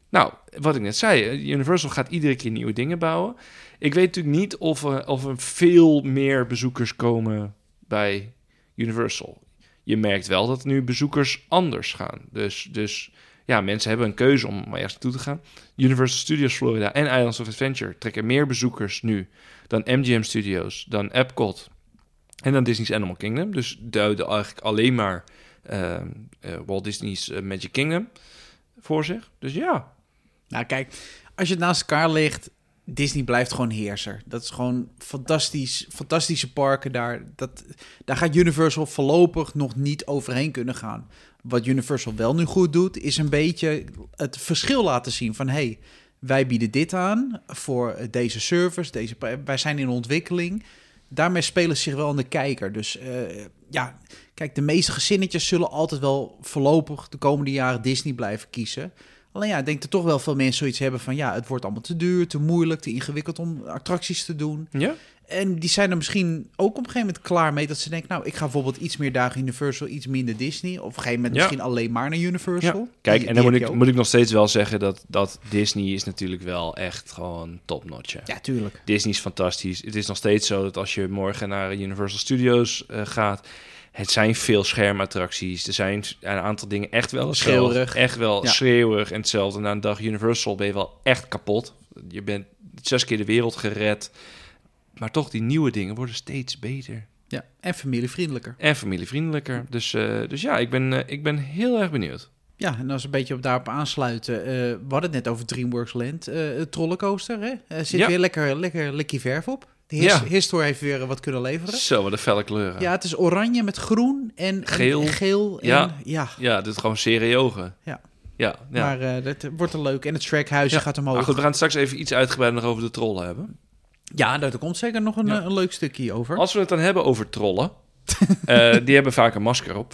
C: Nou, wat ik net zei, eh, Universal gaat iedere keer nieuwe dingen bouwen. Ik weet natuurlijk niet of er, of er veel meer bezoekers komen bij Universal. Je merkt wel dat nu bezoekers anders gaan. Dus, dus ja, mensen hebben een keuze om maar ergens naartoe te gaan. Universal Studios Florida en Islands of Adventure trekken meer bezoekers nu dan MGM Studios, dan Epcot en dan Disney's Animal Kingdom. Dus duiden eigenlijk alleen maar ehm, eh, Walt Disney's eh, Magic Kingdom voor zich. Dus ja,
B: Nou kijk, als je het naast elkaar legt, Disney blijft gewoon heerser. Dat is gewoon fantastisch, fantastische parken daar. Dat, daar gaat Universal voorlopig nog niet overheen kunnen gaan. Wat Universal wel nu goed doet, is een beetje het verschil laten zien van... hey, wij bieden dit aan voor deze service, deze, pa- wij zijn in ontwikkeling. Daarmee spelen ze zich wel aan de kijker. Dus eh, ja, kijk, de meeste gezinnetjes zullen altijd wel voorlopig de komende jaren Disney blijven kiezen. Alleen ja, ik denk dat toch wel veel mensen zoiets hebben van... ja, het wordt allemaal te duur, te moeilijk, te ingewikkeld om attracties te doen.
C: ja.
B: En die zijn er misschien ook op een gegeven moment klaar mee... dat ze denken, nou, ik ga bijvoorbeeld iets meer dagen Universal, iets minder Disney. Of op een gegeven moment
C: Ja.
B: misschien alleen maar naar Universal.
C: Ja. Kijk,
B: Die-
C: en dan
B: die
C: moet
B: heb
C: ik,
B: je
C: moet ik nog steeds wel zeggen dat, dat Disney is natuurlijk wel echt gewoon topnotch. hè.
B: ook. Ja, tuurlijk.
C: Disney is fantastisch. Het is nog steeds zo dat als je morgen naar Universal Studios eh, gaat, het zijn veel schermattracties. Er zijn een aantal dingen echt wel hetzelfde.
B: Schreeuwerig.
C: Echt wel
B: Ja.
C: schreeuwig en hetzelfde. Na een dag Universal ben je wel echt kapot. Je bent zes keer de wereld gered. Maar toch, die nieuwe dingen worden steeds beter.
B: Ja. En familievriendelijker.
C: En familievriendelijker. Dus, eh, dus ja, ik ben, eh, ik ben heel erg benieuwd.
B: Ja, en als we een beetje op daarop aansluiten... eh, we hadden het net over DreamWorks Land, eh rollercoaster, hè? Er zit
C: Ja.
B: weer lekker, lekker likkie verf op. De his
C: Ja.
B: Histor heeft weer eh, wat kunnen leveren.
C: Zo, wat een felle kleuren.
B: Ja, het is oranje met groen en en
C: Geel.
B: geel en
C: Ja.
B: ja.
C: Ja, dit is gewoon serie ogen.
B: Ja.
C: Ja, ja.
B: Maar eh, dat wordt er leuk. En het trackhuisje
C: Ja.
B: gaat
C: Maar
B: omhoog.
C: goed, we gaan het straks even iets uitgebreider nog over de trollen hebben.
B: ja, daar komt zeker nog een,
C: Ja.
B: eh, een leuk stukje over.
C: Als we het dan hebben over trollen, eh, die hebben vaak een masker op,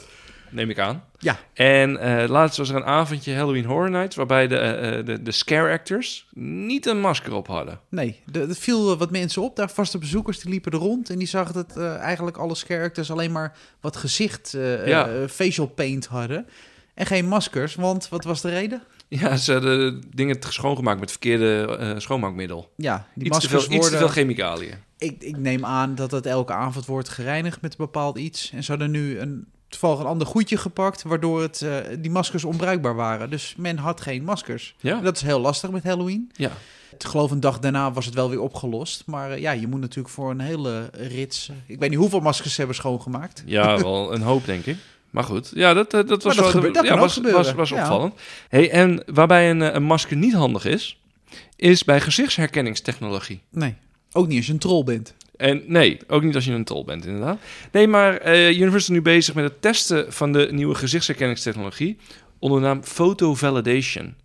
C: neem ik aan.
B: Ja.
C: En eh, laatst was er een avondje Halloween Horror Nights, waarbij de, eh, eh, de, de scare actors niet een masker op hadden.
B: Nee, er er viel eh, wat mensen op. Daar vaste bezoekers die liepen er rond. En die zagen dat eh, eigenlijk alle characters alleen maar wat gezicht, eh,
C: Ja.
B: eh, facial paint hadden. En geen maskers, want wat was de reden?
C: Ja, ze hadden dingen schoongemaakt met verkeerde eh, schoonmaakmiddel.
B: Ja, die
C: iets, te
B: maskers
C: veel, iets te
B: worden...
C: veel chemicaliën.
B: ik, ik neem aan dat dat elke avond wordt gereinigd met een bepaald iets. En ze hadden nu een, toevallig een ander goedje gepakt, waardoor het, eh, die maskers onbruikbaar waren. Dus men had geen maskers.
C: Ja,
B: En Dat is heel lastig met Halloween.
C: ja.
B: Ik geloof een dag daarna was het wel weer opgelost. Maar eh, ja, je moet natuurlijk voor een hele rits... eh, ik weet niet hoeveel maskers ze hebben schoongemaakt.
C: ja, wel een hoop denk ik. Maar goed, ja, dat, eh, dat was
B: dat
C: wel-
B: gebeurt- dat
C: ja,
B: kan ook
C: was,
B: gebeuren.
C: was, was
B: Ja.
C: opvallend. Hey, en waarbij een, eh, een masker niet handig is, is bij gezichtsherkenningstechnologie.
B: Nee, ook niet als je een troll bent.
C: En nee, ook niet als je een tol bent, inderdaad. Nee, maar eh Universal is nu bezig met het testen van de nieuwe gezichtsherkenningstechnologie onder de naam Photo Validation.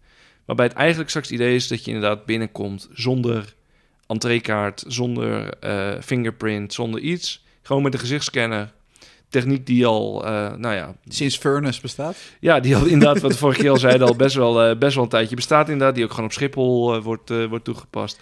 C: Waarbij het eigenlijk straks het idee is dat je inderdaad binnenkomt zonder entreekaart, zonder eh, fingerprint, zonder iets. Gewoon met de gezichtsscanner. Techniek die al, eh, nou ja,
B: Sinds Furnace bestaat.
C: ja, die al inderdaad, wat we vorige keer al zeiden, al best wel, eh, best wel een tijdje bestaat inderdaad. Die ook gewoon op Schiphol eh, wordt, eh, wordt toegepast.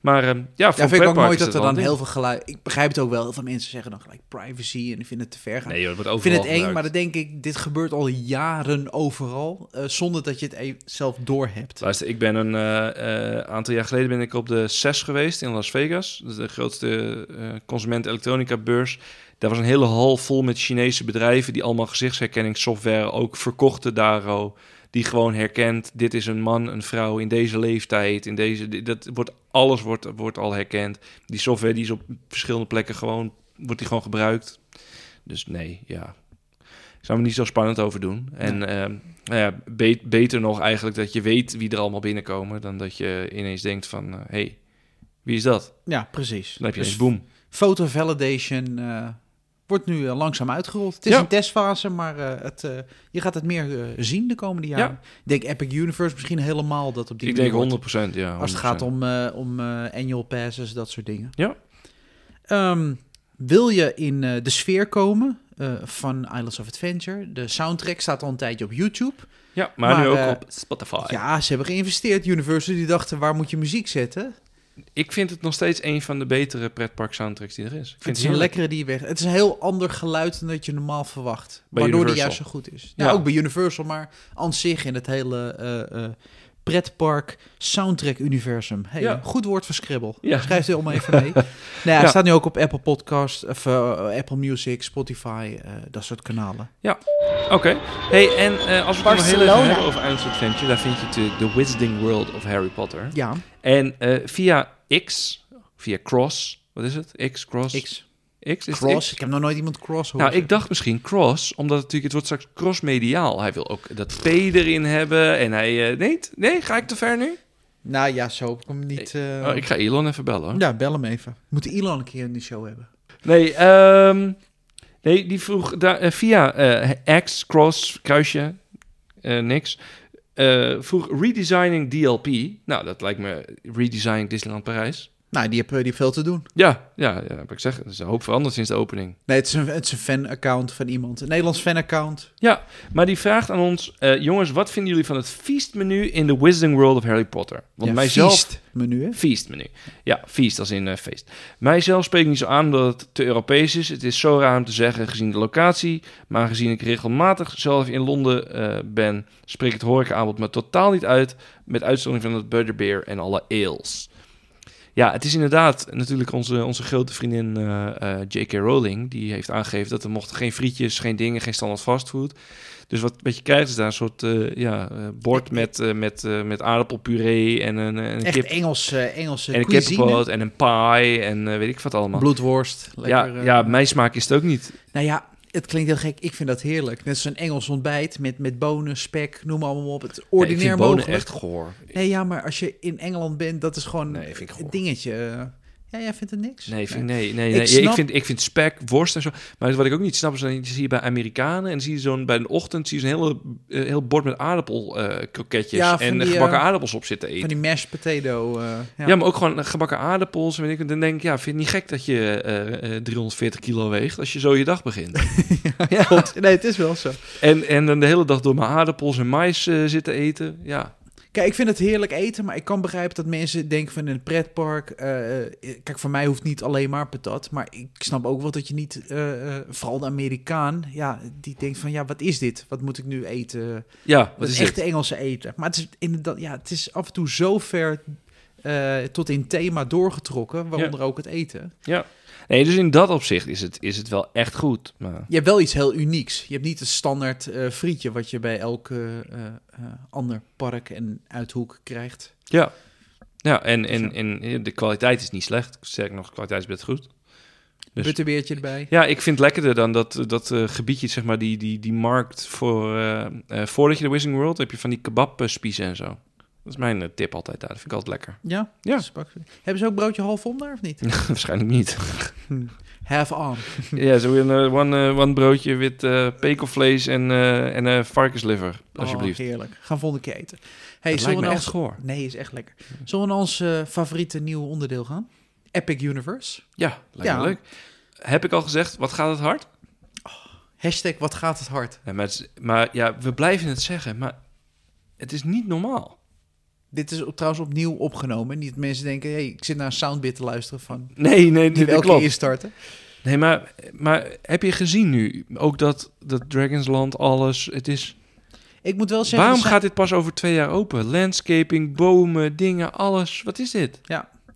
C: Maar ehm, ja, voor
B: Ja, vind ik ook
C: pretparken
B: mooi
C: is
B: dat er
C: wel
B: dan
C: een ding.
B: heel veel geluid... Ik begrijp het ook wel. Heel veel mensen zeggen dan gelijk privacy en ik vind het te ver gaan.
C: Nee, joh, dat wordt
B: Ik vind het
C: overal
B: eng,
C: gebruikt.
B: maar dan denk ik, dit gebeurt al jaren overal, eh, zonder dat je het e- zelf doorhebt.
C: Luister, ik ben een eh, eh, aantal jaar geleden ben ik op de CES geweest in Las Vegas. Dat is de grootste eh consument elektronica beurs. Daar was een hele hal vol met Chinese bedrijven die allemaal gezichtsherkenningssoftware ook verkochten daar. oh. Die gewoon herkent, dit is een man, een vrouw in deze leeftijd. In deze, di- dat wordt, alles wordt, wordt al herkend. Die software die is op verschillende plekken gewoon, wordt die gewoon gebruikt. Dus nee, ja. Ik zou me niet zo spannend over doen. En ehm, nou ja, be- beter nog eigenlijk dat je weet wie er allemaal binnenkomen... dan dat je ineens denkt van, eh, hey, wie is dat?
B: Ja, precies.
C: Dan heb je
B: Dus
C: eens boom.
B: Photo validation eh, wordt Wordt nu eh, langzaam uitgerold. Het is
C: Ja.
B: een testfase, maar eh, het, eh, je gaat het meer eh, zien de komende jaren.
C: Ja.
B: Ik denk Epic Universe misschien helemaal dat op die
C: Ik
B: manier
C: denk
B: wordt.
C: 100%, ja. 100%.
B: Als het gaat om, eh, om eh, annual passes, dat soort dingen.
C: Ja.
B: Ehm, wil je in eh, de sfeer komen eh, van Islands of Adventure? De soundtrack staat al een tijdje op YouTube.
C: Ja, maar,
B: maar,
C: nu ook
B: eh,
C: op Spotify.
B: Ja, ze hebben geïnvesteerd. Universal die dachten, waar moet je muziek zetten?
C: Ik vind het nog steeds een van de betere pretpark soundtracks die er is. Ik
B: Het
C: vind
B: is een
C: heerlijk.
B: lekkere die weg. Het is een heel ander geluid dan dat je normaal verwacht.
C: Bij
B: waardoor die
C: Universal.
B: juist zo goed is. Ja,
C: Ja.
B: ook bij Universal, maar aan zich in het hele eh, eh, pretpark soundtrack universum. Hey,
C: Ja.
B: een Goed woord voor Scribble.
C: Ja.
B: Schrijf het allemaal even mee. nou ja, het
C: Ja.
B: staat nu ook op Apple Podcast, of eh, Apple Music, Spotify, eh, dat soort kanalen.
C: Oké. Hey, en eh, als we het nog heel even
E: Barcelona.
C: hebben over Islands of Adventure, daar vind je natuurlijk The Wizarding World of Harry Potter.
B: Ja,
C: En eh, via X, via Cross, wat is het? X, Cross?
B: X.
C: X, is het
B: Cross.
C: X?
B: Ik heb nog nooit iemand cross horen.
C: Nou, ik dacht misschien cross, omdat het natuurlijk, het wordt straks crossmediaal. Hij wil ook dat P erin hebben en hij... eh, nee, t- nee, ga ik te ver nu?
B: Nou ja, zo. Ik hem niet... eh,
C: Oh, ik ga Elon even bellen. hoor.
B: Ja, bel hem even. We moeten Elon een keer in de show hebben.
C: Nee, ehm, nee, die vroeg daar, eh, via eh, X, cross, kruisje, eh, niks. Eh, vroeg redesigning DLP. Nou, dat lijkt me redesigning Disneyland Parijs.
B: Nou, die hebben die heeft veel te doen.
C: Ja, ja, ja heb ik zeg. Er is een hoop veranderd sinds de opening.
B: Nee, het is een, het is een fan-account van iemand. Een Nederlands fan-account.
C: Ja, maar die vraagt aan ons... eh, jongens, wat vinden jullie van het feastmenu in The Wizarding World of Harry Potter? Want
B: Ja,
C: mijzelf...
B: feast-menu, hè?
C: Feestmenu. Ja, feest als in eh, feest. Mijzelf spreekt niet zo aan omdat het te Europees is. Het is zo raar om te zeggen gezien de locatie. Maar gezien ik regelmatig zelf in Londen eh, ben, spreekt het horecaaanbod me totaal niet uit. Met uitzondering van het Butterbeer en alle ales. Ja, het is inderdaad natuurlijk onze, onze grote vriendin eh, eh, J.K. Rowling. Die heeft aangegeven dat er mochten geen frietjes, geen dingen, geen standaard fastfood. Dus wat, wat je krijgt is daar een soort eh, ja, eh, bord met, eh, met, eh, met aardappelpuree en een, een
B: Echt
C: kip
B: Engelse, Engelse
C: en een
B: cuisine.
C: kippenpoot en een pie en eh, weet ik wat allemaal.
B: Bloedworst.
C: ja,
B: Lekker, eh.
C: ja, mijn smaak is het ook niet.
B: Nou ja, het klinkt heel gek. Ik vind dat heerlijk. Net als een Engels ontbijt met, met bonen, spek, noem maar allemaal op. Het is ordinair
C: nee, ik vind bonen
B: mogelijk.
C: echt goor.
B: Nee, ja, maar als je in Engeland bent, dat is gewoon
C: Nee, vind ik
B: een
C: goor.
B: dingetje. Ja, jij vindt het niks?
C: Nee, vind, nee, nee.
B: Ik
C: nee. Ik,
B: snap-
C: vind, ik vind spek, worst en zo. Maar wat ik ook niet snap is, dan zie je bij Amerikanen en dan zie je zo'n bij een ochtend zie je zo'n hele, eh, heel bord met aardappelkroketjes
B: Ja, van
C: en
B: die,
C: gebakken
B: eh,
C: aardappels op zitten eten.
B: Van die mashed potato. eh,
C: ja. maar ook gewoon gebakken aardappels. En weet ik, wat. dan denk ik, ja, vind je het niet gek dat je eh, eh, 340 kilo weegt als je zo je dag begint? ja.
B: Klopt. Nee, het is wel zo.
C: En, en dan de hele dag door mijn aardappels en mais eh, zitten eten. Ja,
B: Kijk, ik vind het heerlijk eten, maar ik kan begrijpen dat mensen denken van in het pretpark. eh, eh, kijk, voor mij hoeft niet alleen maar patat. Maar ik snap ook wel dat je niet, eh, eh, vooral de Amerikaan, ja, die denkt van ja, wat is dit? Wat moet ik nu eten?
C: ja
B: Dat
C: wat
B: is
C: is
B: echt
C: dit?
B: de Engelse eten. Maar het is inderdaad, ja, het is af en toe zo ver eh, tot in thema doorgetrokken, waaronder ook het eten.
C: Nee, dus in dat opzicht is het, is het wel echt goed. Maar...
B: Je hebt wel iets heel unieks. Je hebt niet een standaard eh, frietje wat je bij elk eh, eh, eh, ander park en uithoek krijgt.
C: Ja. Ja, en, en,
B: Zo.
C: en de kwaliteit is niet slecht. Sterker nog, de kwaliteit is best goed. Dus-
B: Butterbeertje erbij.
C: Ja, ik vind het lekkerder dan dat, dat eh, gebiedje, zeg maar, die, die, die markt voor... eh, eh, voordat je de Wizarding World heb je van die kebabspiezen en zo. Dat is mijn eh, tip altijd daar. Dat vind ik altijd lekker.
B: Ja?
C: Ja.
B: Spak- Hebben ze ook broodje half om daar of niet? Oh,
C: Waarschijnlijk niet.
B: Half on.
C: Ja, zo een eh, one, eh, one broodje met eh pekelvlees en, eh, en eh, varkensliver, alsjeblieft.
B: Oh, heerlijk. Gaan volgende keer eten. Hey, zullen
C: dat lijkt
B: we nou
C: me
B: naar
C: echt
B: ons-
C: goor.
B: Nee, is echt lekker. Zullen we naar ons eh, favoriete nieuwe onderdeel gaan? Epic Universe.
C: Ja, lijkt
B: Ja.
C: me leuk. Heb ik al gezegd, wat gaat het hard?
B: Hashtag wat gaat het hard.
C: Ja, maar, het is- maar ja, we blijven het zeggen, maar het is niet normaal.
B: Dit is op- trouwens opnieuw opgenomen. Niet dat mensen denken, hey, ik zit naar een soundbit te luisteren van...
C: Nee, nee,
B: Die
C: dit
B: we elke keer
C: klopt.
B: instarten.
C: Nee, maar, maar heb je gezien nu ook dat, dat Dragonsland, alles, het is...
B: Ik moet wel zeggen...
C: Waarom
B: er zijn-
C: gaat dit pas over twee jaar open? Landscaping, bomen, dingen, alles. Wat is dit?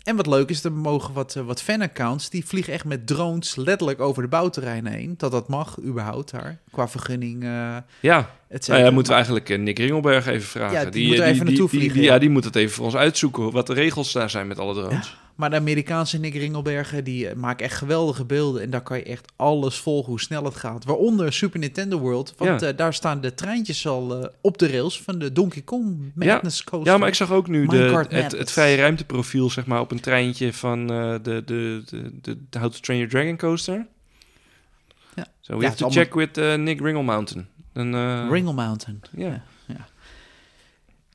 B: En wat leuk is, er mogen wat, eh, wat fanaccounts... die vliegen echt met drones letterlijk over de bouwterreinen heen. Dat dat mag, überhaupt daar. Qua vergunning, eh
C: Ja,
B: et
C: nou
B: cetera.
C: ja, moeten we eigenlijk eh, Nick Ringelberg even vragen.
B: Ja, die moet er even naartoe
C: die-
B: vliegen,
C: die-
B: ja.
C: ja, die moet het even voor ons uitzoeken, wat de regels daar zijn met alle drones.
B: Maar de Amerikaanse Nick Ringelbergen, die eh, maken echt geweldige beelden. En daar kan je echt alles volgen hoe snel het gaat. Waaronder Super Nintendo World. Want
C: Ja.
B: eh, daar staan de treintjes al eh, op de rails van de Donkey Kong Madness Coaster.
C: Ja, maar ik zag ook nu de,
B: Minecart
C: het,
B: Madness.
C: het vrije ruimteprofiel zeg maar, op een treintje van eh, de, de, de, de, de How to Train Your Dragon coaster.
B: Ja.
C: So we
B: Ja,
C: have to
B: het is
C: check with eh, Nick Ringle Mountain. En, eh,
B: Ringle Mountain.
C: Ja.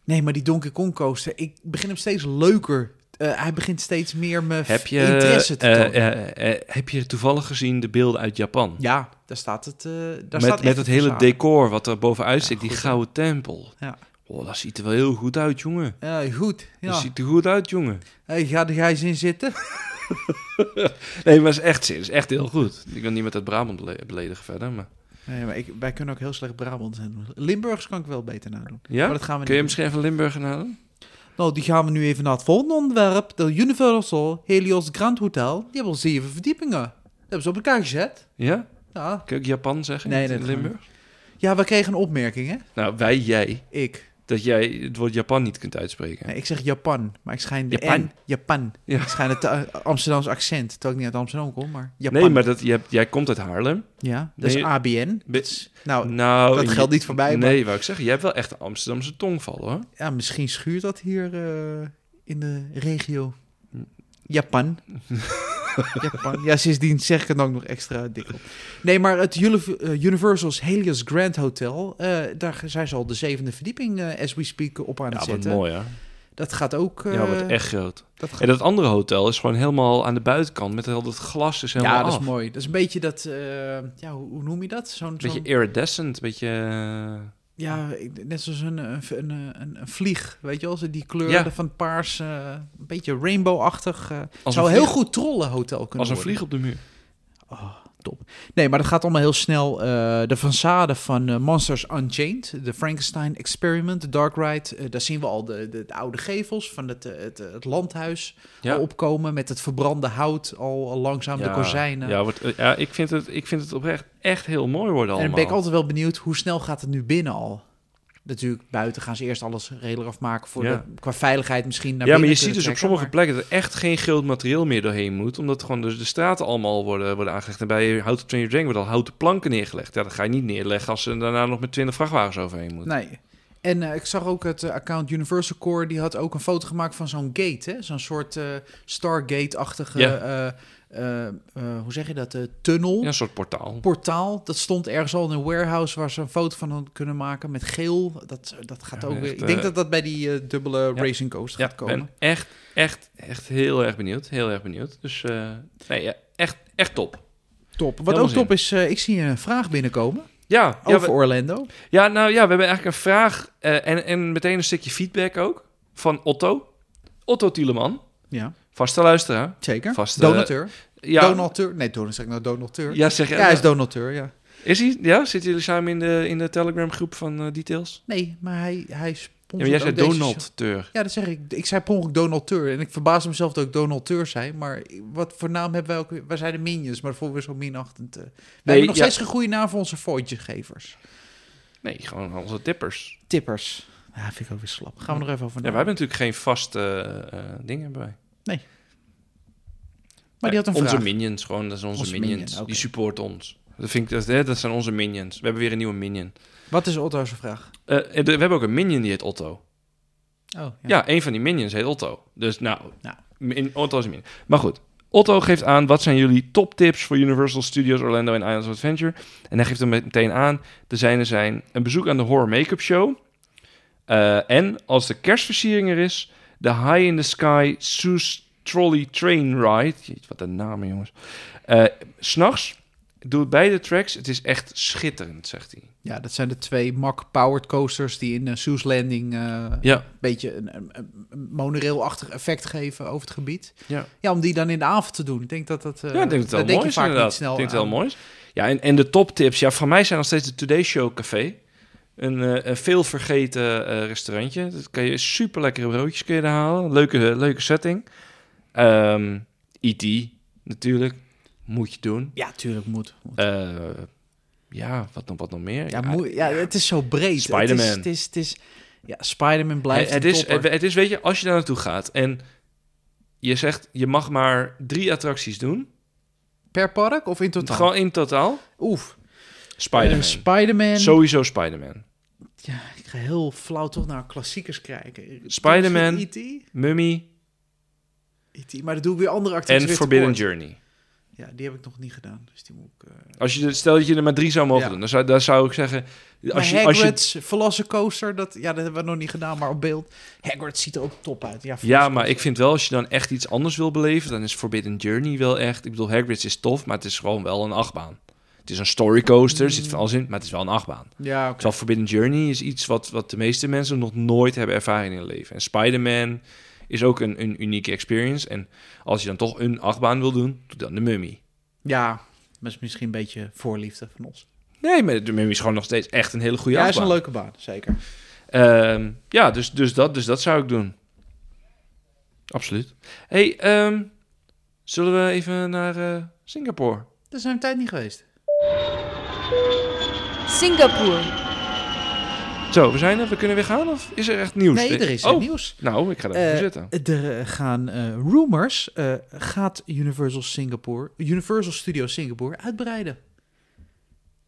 B: Nee, maar die Donkey Kong coaster, ik begin hem steeds leuker. Eh, hij begint steeds meer me
C: Heb je,
B: interesse te tonen.
C: eh, eh, eh, heb je toevallig gezien de beelden uit Japan?
B: ja, daar staat het. eh, daar staat
C: met
B: echt
C: met het hele
B: aan.
C: decor wat er bovenuit zit, die
B: goed, hè?
C: gouden tempel.
B: Ja.
C: Oh, dat ziet er wel heel goed uit, jongen.
B: Ja, goed. Eh, Ja.
C: Dat ziet er goed uit, jongen.
B: Hey, ga er eens in zitten.
C: Nee, maar het is echt, het is echt heel goed. Ik wil niet met het Brabant bele- beledigen verder, maar...
B: Nee, maar ik, wij kunnen ook heel slecht Brabant zijn. Limburgs kan ik wel beter nadoen.
C: Ja?
B: Maar dat gaan we
C: Kun je
B: niet
C: misschien even Limburger halen?
B: doen. Nou, die gaan we nu even naar het volgende onderwerp. De Universal Helios Grand Hotel. Die hebben al zeven verdiepingen. Dat hebben ze op elkaar gezet.
C: Ja?
B: Ja,
C: Kun je ook Japan zeggen?
B: Nee,
C: in
B: dat gaan we
C: Limburg?
B: ja we kregen een opmerking, hè?
C: Nou, wij, jij,
B: Ik.
C: dat jij het woord Japan niet kunt uitspreken.
B: Nee, ik zeg Japan, maar ik schijn de
C: Japan.
B: N- Japan.
C: Ja.
B: Ik schijn het eh, Amsterdamse accent. Terwijl ik niet uit Amsterdam kom, maar Japan.
C: Nee, maar dat, jij, jij komt uit Haarlem.
B: Ja, dat
C: Nee.
B: is ABN.
C: Be-
B: Nou,
C: nou,
B: dat
C: je-
B: geldt niet voor mij, maar-
C: Nee, wou ik zeggen, jij hebt wel echt een Amsterdamse tongval, hoor.
B: ja, misschien schuurt dat hier eh, in de regio. Japan. Japan. Ja, sindsdien zeg ik het ook nog extra dik op. Nee, maar het Uli- eh, Universal's Helios Grand Hotel, eh, daar zijn ze al de zevende verdieping, eh, as we speak, op aan
C: Ja,
B: het
C: wat
B: zetten.
C: mooi, hè?
B: Dat gaat ook... eh,
C: Ja, wat echt groot.
B: Dat gaat
C: En dat andere hotel is gewoon helemaal aan de buitenkant met al dat glas is helemaal
B: ja, dat
C: af.
B: is mooi. Dat is een beetje dat, eh, ja, hoe, hoe noem je dat? Zo'n,
C: Beetje
B: zo'n-
C: iridescent, beetje... eh,
B: ja, ik- net zoals een, een, een, een, een vlieg, weet je wel? Zo Die kleur
C: Ja.
B: van paars, eh, een beetje rainbowachtig. eh
C: Als
B: zou
C: een
B: heel
C: vlieg-
B: goed trollenhotel kunnen
C: als een
B: worden.
C: vlieg op de muur.
B: Nee, maar dat gaat allemaal heel snel. Eh, de façade van eh, Monsters Unchained, de Frankenstein Experiment, de Dark Ride. eh, daar zien we al de, de, de oude gevels van het, eh, het, eh, het landhuis
C: Ja.
B: al opkomen. Met het verbrande hout al, al langzaam, de kozijnen.
C: Ja, wordt, eh, ja ik, vind het, ik vind het oprecht echt heel mooi worden
B: En dan
C: allemaal.
B: ben ik altijd wel benieuwd, hoe snel gaat het nu binnen al? Natuurlijk, buiten gaan ze eerst alles redelijk afmaken voor
C: Ja.
B: de, qua veiligheid misschien naar
C: ja, maar
B: binnen
C: je ziet
B: kunnen
C: dus op
B: trekken,
C: sommige plekken dat er echt geen groot materieel meer doorheen moet. Omdat gewoon dus de straten allemaal worden, worden aangelegd. En bij Houten Train Your Dragon worden al houten planken neergelegd. Ja, dat ga je niet neerleggen als ze daarna nog met 20 vrachtwagens overheen moeten.
B: Nee. En eh, ik zag ook het eh, account Universal Core, die had ook een foto gemaakt van zo'n gate, hè? zo'n soort eh, Stargate-achtige,
C: Ja.
B: eh, eh, eh, hoe zeg je dat, eh, tunnel,
C: Ja, een soort portaal.
B: portaal. Dat stond ergens al in een warehouse waar ze een foto van hadden kunnen maken met geel. Dat, dat gaat
C: Ja,
B: ook
C: echt,
B: weer, ik denk
C: eh,
B: dat dat bij die eh, dubbele
C: Ja.
B: Racing Coast
C: Ja,
B: gaat komen.
C: ben echt, echt, echt heel erg benieuwd. Heel erg benieuwd. Dus eh, nee, ja, echt, echt top.
B: Top. Wat
C: Helemaal
B: ook top is, eh, ik zie een vraag binnenkomen
C: Ja, ja,
B: over
C: we-
B: Orlando.
C: ja, nou ja, we hebben eigenlijk een vraag eh, en, en meteen een stukje feedback ook van Otto. Otto Tieleman,
B: Ja,
C: vaste luisteraar.
B: zeker.
C: Vast, eh,
B: donateur.
C: Ja,
B: Donateur. Nee, donor, zeg ik nou donateur. Ja,
C: Ja, zeg
B: hij is donateur, ja.
C: Is hij? Ja? Zitten jullie samen in de, in de Telegram groep van eh, Details?
B: Nee, maar hij, hij sponsort
C: Ja, maar jij
B: ook
C: zei
B: deze show.
C: Donald Teur.
B: Ja, dat zeg ik. Ik zei per ongeluk donateur. En ik verbaasde mezelf dat ik donateur zei. Maar wat voor naam hebben wij ook weer? Wij zijn de minions, maar dat vonden we zo minachtend. eh. we hebben nog
C: ja.
B: steeds geen goede naam voor onze voidjegevers.
C: Nee, gewoon onze tippers.
B: Oh. Tippers. Ja, vind ik ook weer slap. Gaan we nog even over
C: Ja, wij hebben natuurlijk geen vaste eh, eh, dingen bij.
B: Maar die had een
C: onze
B: vraag.
C: minions, gewoon. Dat zijn onze,
B: Onze
C: minions.
B: minion, oké.
C: Die supporten ons. Dat, vind ik, dat, hè, dat zijn onze minions. We hebben weer een nieuwe minion.
B: Wat is Otto's vraag?
C: Eh, en de- we hebben ook een minion die heet Otto.
B: Oh,
C: Ja. een van die minions heet Otto. Dus nou,
B: Nou.
C: min- Otto is een minion. Maar goed. Otto geeft aan, wat zijn jullie toptips voor Universal Studios Orlando en Islands of Adventure? En hij geeft hem meteen aan, de zijne zijn een bezoek aan de Horror Make-up Show. Eh, en als de kerstversiering er is, de High in the Sky Soos Trolley Train Ride. Jeetje, wat een naam, jongens. Eh, S S'nachts, doe beide tracks. Het is echt schitterend, zegt hij.
B: Ja, dat zijn de twee Mack-powered coasters die in eh, Soos Landing eh,
C: Ja,
B: een beetje een, een, een- een monorailachtig effect geven over het gebied.
C: ja.
B: Ja, om die dan in de avond te doen. Ik denk dat dat. eh,
C: Ja, ik denk dat
B: daar
C: het wel mooi
B: je
C: is
B: vaak
C: inderdaad.
B: niet snel
C: ik denk het
B: aan.
C: wel mooi is. Ja, en, en de toptips. Ja, van mij zijn nog steeds de Today Show Café. Een, eh, een veel vergeten eh, restaurantje. Dat kan je super lekkere broodjes kun je daar halen. Leuke, leuke setting. Ehm E.T. natuurlijk. Moet je doen.
B: Ja, tuurlijk moet. moet.
C: Eh, ja, wat nog, wat nog meer?
B: ja, moe- ja, het is zo breed.
C: Spider-Man.
B: Het is, het is, het is, ja, Spider-Man
C: het,
B: blijft
C: het
B: een
C: is,
B: topper.
C: het, het is, weet je, als je daar naartoe gaat en je zegt je mag maar drie attracties doen.
B: per park of in totaal?
C: Gewoon in totaal.
B: Oef.
C: Spider-Man.
B: Eh, Spider-Man.
C: Sowieso Spider-Man.
B: Ja, ik ga heel flauw toch naar klassiekers kijken. E
C: Spider-Man.
B: E.T.
C: Mummy.
B: E.T. E Maar dat doe ik weer andere acties.
C: En Forbidden Journey.
B: Ja, die heb ik nog niet gedaan. Dus die moet ik... eh,
C: Als je, de- stel dat je er maar drie zou mogen
B: Ja.
C: doen, dan zou, dan zou ik zeggen...
B: Maar
C: Als je, als je,
B: Hagrid's Velocicoaster, dat, ja, dat hebben we nog niet gedaan, maar op beeld. Hagrid ziet er ook top uit. Ja,
C: ja,
B: Velocicoaster.
C: maar ik vind wel, als je dan echt iets anders wil beleven, dan is Forbidden Journey wel echt... Ik bedoel, Hagrid's is tof, maar het is gewoon wel een achtbaan. Het is een storycoaster,
B: Mm.
C: er zit van alles in, maar het is wel een achtbaan.
B: Ja, oké.
C: Terwijl Forbidden Journey is iets wat, wat de meeste mensen nog nooit hebben ervaren in hun leven. En Spider-Man is ook een, een unieke experience. En als je dan toch een achtbaan wil doen, doe dan de Mummy.
B: Ja, maar is misschien een beetje voorliefde van ons.
C: Nee, maar de Mummy is gewoon nog steeds echt een hele goede
B: Ja, is
C: achtbaan.
B: een leuke baan, zeker.
C: Ehm, ja, dus, dus, dat, dus dat zou ik doen. Absoluut. hey, ehm, zullen we even naar eh, Singapore?
B: Dat is een tijd niet geweest.
A: Singapore.
C: Zo, we zijn er. We kunnen weer gaan? Of is er echt nieuws?
B: Nee, er is
C: oh,
B: nieuws.
C: Nou, ik ga daar
B: Eh,
C: even zitten.
B: Er eh, gaan eh, rumors. eh, gaat Universal Singapore, Universal Studios Singapore uitbreiden?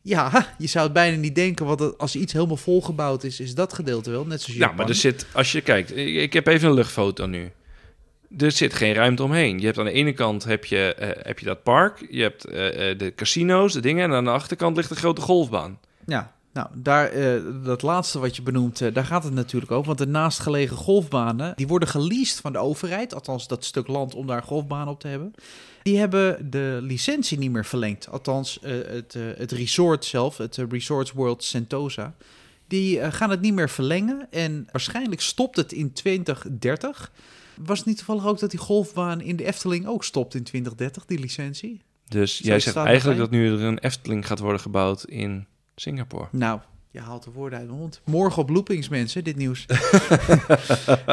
B: Ja, je zou het bijna niet denken, want het- als iets helemaal volgebouwd is, is dat gedeelte wel. Net zoals
C: Ja,
B: dus Japan.
C: Nou, maar er zit, als je kijkt, ik, ik heb even een luchtfoto nu. Er zit geen ruimte omheen. Je hebt aan de ene kant heb je, eh, heb je dat park, je hebt eh, eh, de casino's, de dingen, en aan de achterkant ligt de grote golfbaan.
B: Ja, nou, daar, eh, dat laatste wat je benoemt, eh, daar gaat het natuurlijk over. Want de naastgelegen golfbanen, die worden geleased van de overheid. Althans, dat stuk land om daar golfbanen op te hebben. Die hebben de licentie niet meer verlengd. Althans, eh, het, eh, het resort zelf, het eh, Resorts World Sentosa. Die eh, gaan het niet meer verlengen. En waarschijnlijk stopt het in 2030. Was het niet toevallig ook dat die golfbaan in de Efteling ook stopt in 2030, die licentie?
C: Dus
B: Zo
C: jij
B: staat
C: zegt
B: het
C: eigenlijk
B: bij.
C: dat nu er een Efteling gaat worden gebouwd in Singapore.
B: Nou, je haalt de woorden uit mijn mond. Morgen op loopings, mensen, dit nieuws.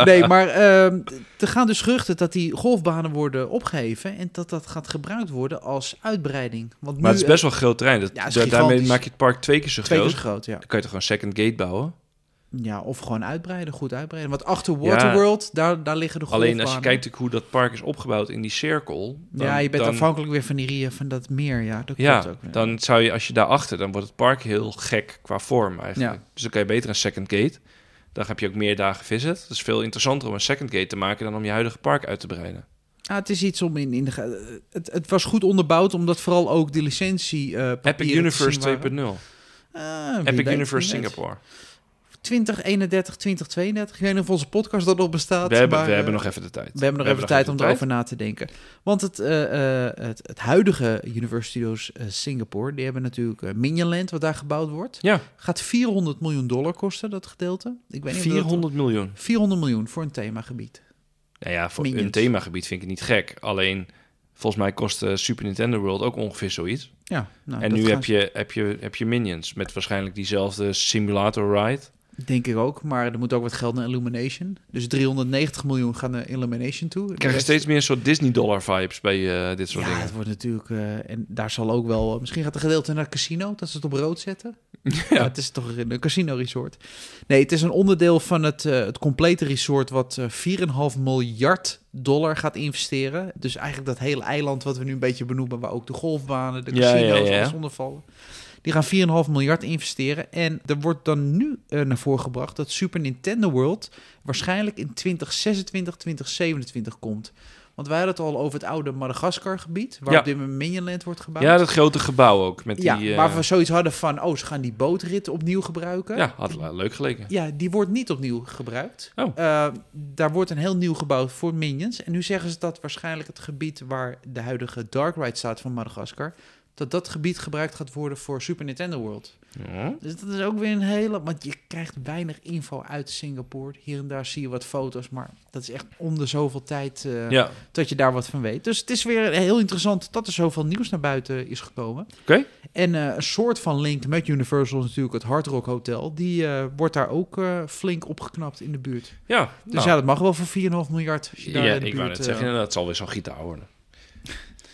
B: nee, maar ehm, er gaan dus geruchten dat die golfbanen worden opgeheven... en dat dat gaat gebruikt worden als uitbreiding. Want nu,
C: Maar het is
B: eh,
C: best wel een groot terrein. Dat,
B: Ja, het is
C: da- daarmee
B: gigantisch.
C: maak je het park twee keer zo
B: twee
C: groot.
B: keer zo groot, ja.
C: Dan kan je toch gewoon second gate bouwen?
B: Ja, of gewoon uitbreiden, goed uitbreiden. Want achter
C: Ja.
B: Waterworld, daar, daar liggen de golfbanen.
C: Alleen als je kijkt natuurlijk hoe dat park is opgebouwd in die cirkel. dan-
B: ja, je bent
C: dan-
B: afhankelijk weer van die rieën van dat meer, ja. Dat
C: Ja,
B: klopt ook. ja.
C: dan zou je als je daarachter, dan wordt het park heel gek qua vorm eigenlijk.
B: Ja.
C: Dus dan kan je beter een second gate. Dan heb je ook meer dagen visit. Het is veel interessanter om een second gate te maken dan om je huidige park uit te breiden.
B: Ah, het is iets om in... in de, ge- het, het was goed onderbouwd, omdat vooral ook de licentie... eh papieren
C: Epic
B: te
C: Universe
B: zien waren.
C: 2.0.
B: Ah, wie weet,
C: Epic
B: wie
C: Universe
B: weet.
C: Singapore.
B: 2031, 2032. Ik weet niet of onze podcast dat nog bestaat.
C: We hebben,
B: maar,
C: we
B: eh,
C: hebben nog even de tijd.
B: we hebben nog even tijd om erover na te denken. Want het, eh, eh, het, het huidige Universal Studios eh, Singapore... die hebben natuurlijk eh, Minionland, wat daar gebouwd wordt.
C: Ja,
B: Gaat 400 miljoen dollar kosten, dat gedeelte. Ik weet niet of dat-
C: 400 miljoen.
B: 400 miljoen voor een themagebied.
C: Nou ja, voor
B: Minions.
C: een themagebied vind ik het niet gek. Alleen, volgens mij kost eh, Super Nintendo World ook ongeveer zoiets.
B: Ja, nou,
C: en
B: dat
C: nu
B: gaan
C: heb je, heb, je, heb je Minions met waarschijnlijk diezelfde simulator ride.
B: ze- Denk ik ook, maar er moet ook wat geld naar Illumination. Dus 390 miljoen gaan naar Illumination toe. De
C: Ik krijg
B: rest-
C: steeds meer soort Disney-dollar-vibes bij eh, dit soort
B: Ja,
C: dingen.
B: het wordt natuurlijk... eh, en daar zal ook wel... misschien gaat een gedeelte naar het casino, dat ze het op rood zetten. Ja. Het is toch een casino resort. Nee, het is een onderdeel van het, eh, het complete resort... wat eh, 4,5 miljard dollar gaat investeren. Dus eigenlijk dat hele eiland wat we nu een beetje benoemen... waar ook de golfbanen, de
C: Ja,
B: casino's,
C: ja, ja.
B: alles onder vallen. Die gaan 4,5 miljard investeren. En er wordt dan nu eh, naar voren gebracht... dat Super Nintendo World waarschijnlijk in 2026, 2027 komt... Want wij hadden het al over het oude Madagaskar-gebied, waar
C: Ja.
B: op dit moment Minionland wordt gebouwd.
C: Ja, dat grote gebouw ook. Met
B: Ja,
C: die, eh,
B: waar we zoiets hadden van, oh, ze gaan die bootrit opnieuw gebruiken.
C: ja, had le- leuk geleken.
B: Ja, die wordt niet opnieuw gebruikt.
C: Oh.
B: Eh, daar wordt een heel nieuw gebouw voor Minions. En nu zeggen ze dat waarschijnlijk het gebied waar de huidige Dark Ride staat van Madagaskar... dat dat gebied gebruikt gaat worden voor Super Nintendo World.
C: Ja.
B: Dus dat is ook weer een hele... Want je krijgt weinig info uit Singapore. Hier en daar zie je wat foto's, maar dat is echt om de zoveel tijd... eh,
C: Ja.
B: dat je daar wat van weet. Dus het is weer heel interessant dat er zoveel nieuws naar buiten is gekomen.
C: Oké.
B: En eh, een soort van link met Universal is natuurlijk het Hard Rock Hotel. Die eh, wordt daar ook eh, flink opgeknapt in de buurt.
C: ja,
B: Dus
C: nou,
B: ja, dat mag wel voor 4,5 miljard. Als je daar
C: ja,
B: in de
C: ik wou
B: buurt, eh,
C: net zeggen, inderdaad, het zal weer zo'n gitaar worden.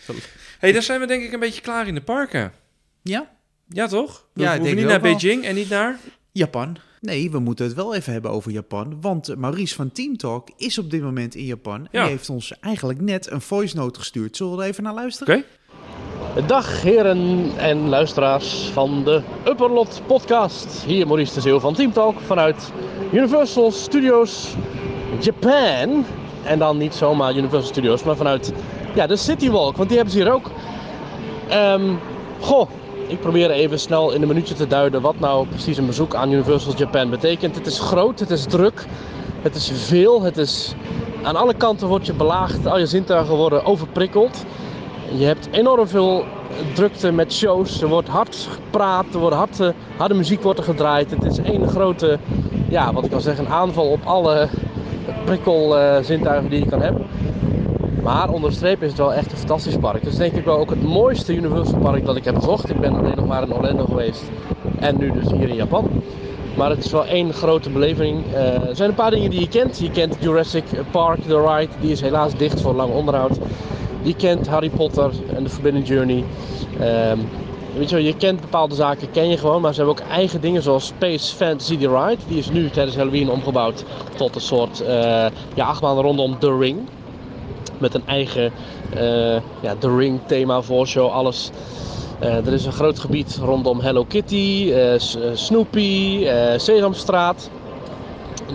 B: Sorry.
C: hey, daar zijn we denk ik een beetje klaar in de parken.
B: ja,
C: Ja, toch? We
B: Ja, ik denk
C: hoeven niet
B: het
C: naar
B: ook wel.
C: Beijing en niet naar...
B: Japan. Nee, we moeten het wel even hebben over Japan. Want eh, Maurice van Team Talk is op dit moment in Japan. En
C: Ja.
B: die heeft ons eigenlijk net een voice note gestuurd. Zullen we er even naar luisteren?
C: Oké.
E: Dag heren en luisteraars van de Upperlot podcast. Hier Maurice de Zeeuw van Team Talk vanuit Universal Studios Japan. En dan niet zomaar Universal Studios, maar vanuit ja, de Citywalk. Want die hebben ze hier ook. Ehm, goh, ik probeer even snel in een minuutje te duiden wat nou precies een bezoek aan Universal Japan betekent. Het is groot, het is druk, het is veel, het is... Aan alle kanten word je belaagd, al je zintuigen worden overprikkeld. Je hebt enorm veel drukte met shows. Er wordt hard gepraat, er wordt hard, eh, harde muziek wordt er gedraaid. Het is één grote, ja, wat ik al zeg, een aanval op alle prikkelzintuigen die je kan hebben. Maar onder de streep is het wel echt een fantastisch park. Het is denk ik wel ook het mooiste Universal Park dat ik heb bezocht. Ik ben alleen nog maar in Orlando geweest en nu dus hier in Japan. Maar het is wel één grote beleving. Eh, er zijn een paar dingen die je kent. Je kent Jurassic Park, The Ride. Die is helaas dicht voor lang onderhoud. Je kent Harry Potter en de Forbidden Journey. Ehm, weet je, wel, je kent bepaalde zaken, ken je gewoon. Maar ze hebben ook eigen dingen zoals Space Fantasy The Ride. Die is nu tijdens Halloween omgebouwd tot een soort eh ja, achtbaan rondom The Ring met een eigen eh, ja, The Ring thema voorshow, alles. Eh, er is een groot gebied rondom Hello Kitty, eh, S- eh, Snoopy, eh, Sesamstraat.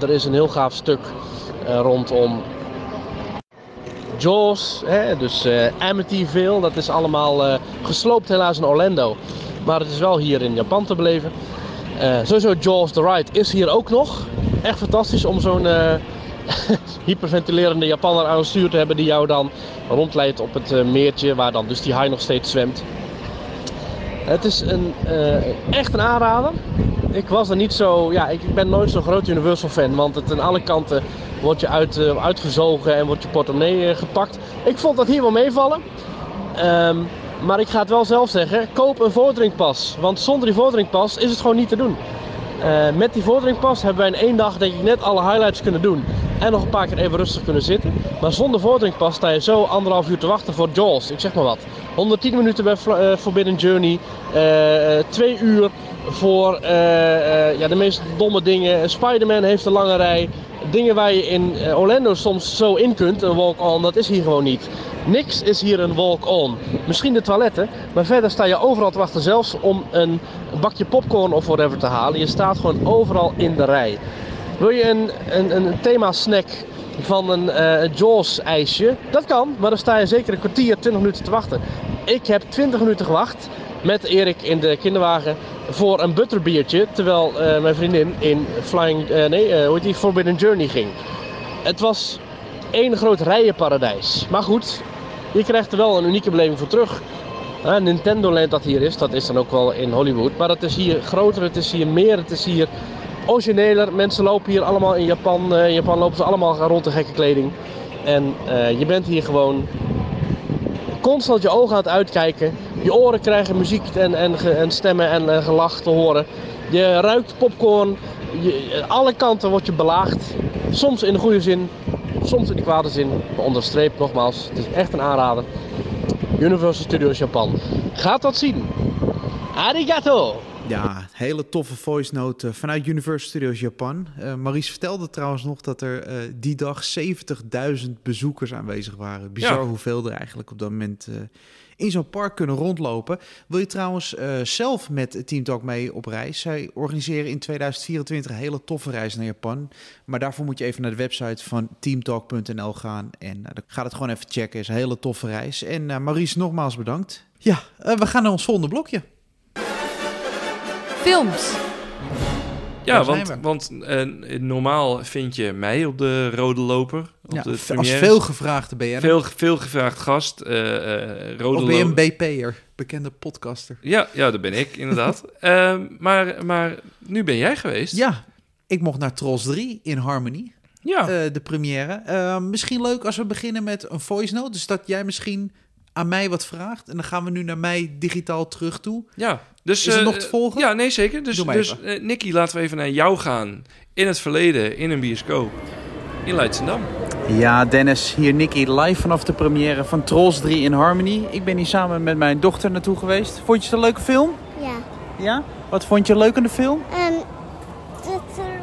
E: Er is een heel gaaf stuk eh, rondom Jaws, hè, dus eh, Amityville. Dat is allemaal eh, gesloopt helaas in Orlando. Maar het is wel hier in Japan te beleven. Eh, sowieso Jaws The Ride is hier ook nog. Echt fantastisch om zo'n... eh, hyperventilerende Japanner aan het stuur te hebben die jou dan rondleidt op het eh, meertje waar dan dus die haai nog steeds zwemt. Het is een, eh, echt een aanrader. Ik was er niet zo, ja, ik ik ben nooit zo'n groot Universal fan, want het aan alle kanten word je uit, eh, uitgezogen en wordt je portemonnee eh, gepakt. Ik vond dat hier wel meevallen. Ehm, maar ik ga het wel zelf zeggen, koop een voordringpas. Want zonder die voordringpas is het gewoon niet te doen. Eh, met die voordringpas hebben wij in één dag denk ik net alle highlights kunnen doen. En nog een paar keer even rustig kunnen zitten. Maar zonder voordringpas sta je zo anderhalf uur te wachten voor Jaws. Ik zeg maar wat. 110 minuten bij Fla- eh, Forbidden Journey. eh, eh, twee uur voor eh, eh, ja, de meest domme dingen. Spider-Man heeft een lange rij. Dingen waar je in eh, Orlando soms zo in kunt, een walk-on, dat is hier gewoon niet. Niks is hier een walk-on. Misschien de toiletten, maar verder sta je overal te wachten, zelfs om een bakje popcorn of whatever te halen. Je staat gewoon overal in de rij. Wil je een, een, een thema-snack van een eh, Jaws-ijsje? Dat kan, maar dan sta je zeker een kwartier, 20 minuten te wachten. Ik heb 20 minuten gewacht met Erik in de kinderwagen voor een butterbiertje. Terwijl eh, mijn vriendin in Flying, eh, nee, eh, hoe heet die, Forbidden Journey ging. Het was één groot rijenparadijs. Maar goed, je krijgt er wel een unieke beleving voor terug. Eh, Nintendo Land dat hier is, dat is dan ook wel in Hollywood. Maar het is hier groter, het is hier meer, het is hier origineler. Mensen lopen hier allemaal in Japan. eh, in Japan lopen ze allemaal rond in gekke kleding. En eh, je bent hier gewoon constant je ogen aan het uitkijken. Je oren krijgen muziek en, en, ge- en stemmen en, eh, gelach te horen. Je ruikt popcorn. Je, eh, alle kanten word je belaagd. Soms in de goede zin, soms in de kwade zin. Maar onderstreep nogmaals, het is echt een aanrader. Universal Studios Japan. Gaat dat zien. Arigato!
F: Ja, hele toffe voice note eh, vanuit Universal Studios Japan. Eh Maries vertelde trouwens nog dat er eh, die dag 70.000 bezoekers aanwezig waren. Bizar
C: Ja.
F: hoeveel er eigenlijk op dat moment eh, in zo'n park kunnen rondlopen. Wil je trouwens eh, zelf met Team Talk mee op reis? Zij organiseren in 2024 een hele toffe reis naar Japan. Maar daarvoor moet je even naar de website van teamtalk.nl gaan. En eh, dan gaat het gewoon even checken. is een hele toffe reis. En eh Maries, nogmaals bedankt. Ja, eh, we gaan naar ons volgende blokje.
A: Films.
C: Ja,
F: Daar
C: want,
F: zijn
C: want eh, normaal vind je mij op de rode loper. Op
B: Ja,
C: de
F: Als Als
C: premières.
F: veelgevraagde BN'er.
C: veel, veel gevraagd gast. eh, eh, rode
B: Of ben je
C: lo-
B: een BP'er? Bekende podcaster.
C: Ja, ja, dat ben ik inderdaad. Ehm, maar, maar nu ben jij geweest.
F: Ja, ik mocht naar Trolls 3 in Harmony,
C: Ja.
F: eh, de première. Eh, misschien leuk als we beginnen met een voice note. Dus dat jij misschien aan mij wat vraagt. En dan gaan we nu naar mij digitaal terug toe.
C: Ja, dus...
F: Is het
C: eh,
F: nog te volgen?
C: Ja, nee, zeker. Dus,
F: Doe maar
C: dus
F: even.
C: eh, Nicky, laten we even naar jou gaan. In het verleden, in een bioscoop. In Leidschendam. Nou,
G: Ja, Dennis, hier Nicky, live vanaf de première van Trolls 3 in Harmony. Ik ben hier samen met mijn dochter naartoe geweest. Vond je het een leuke film?
H: Ja, ehm,
G: Ja. Wat vond je leuk aan de film?
H: en dat er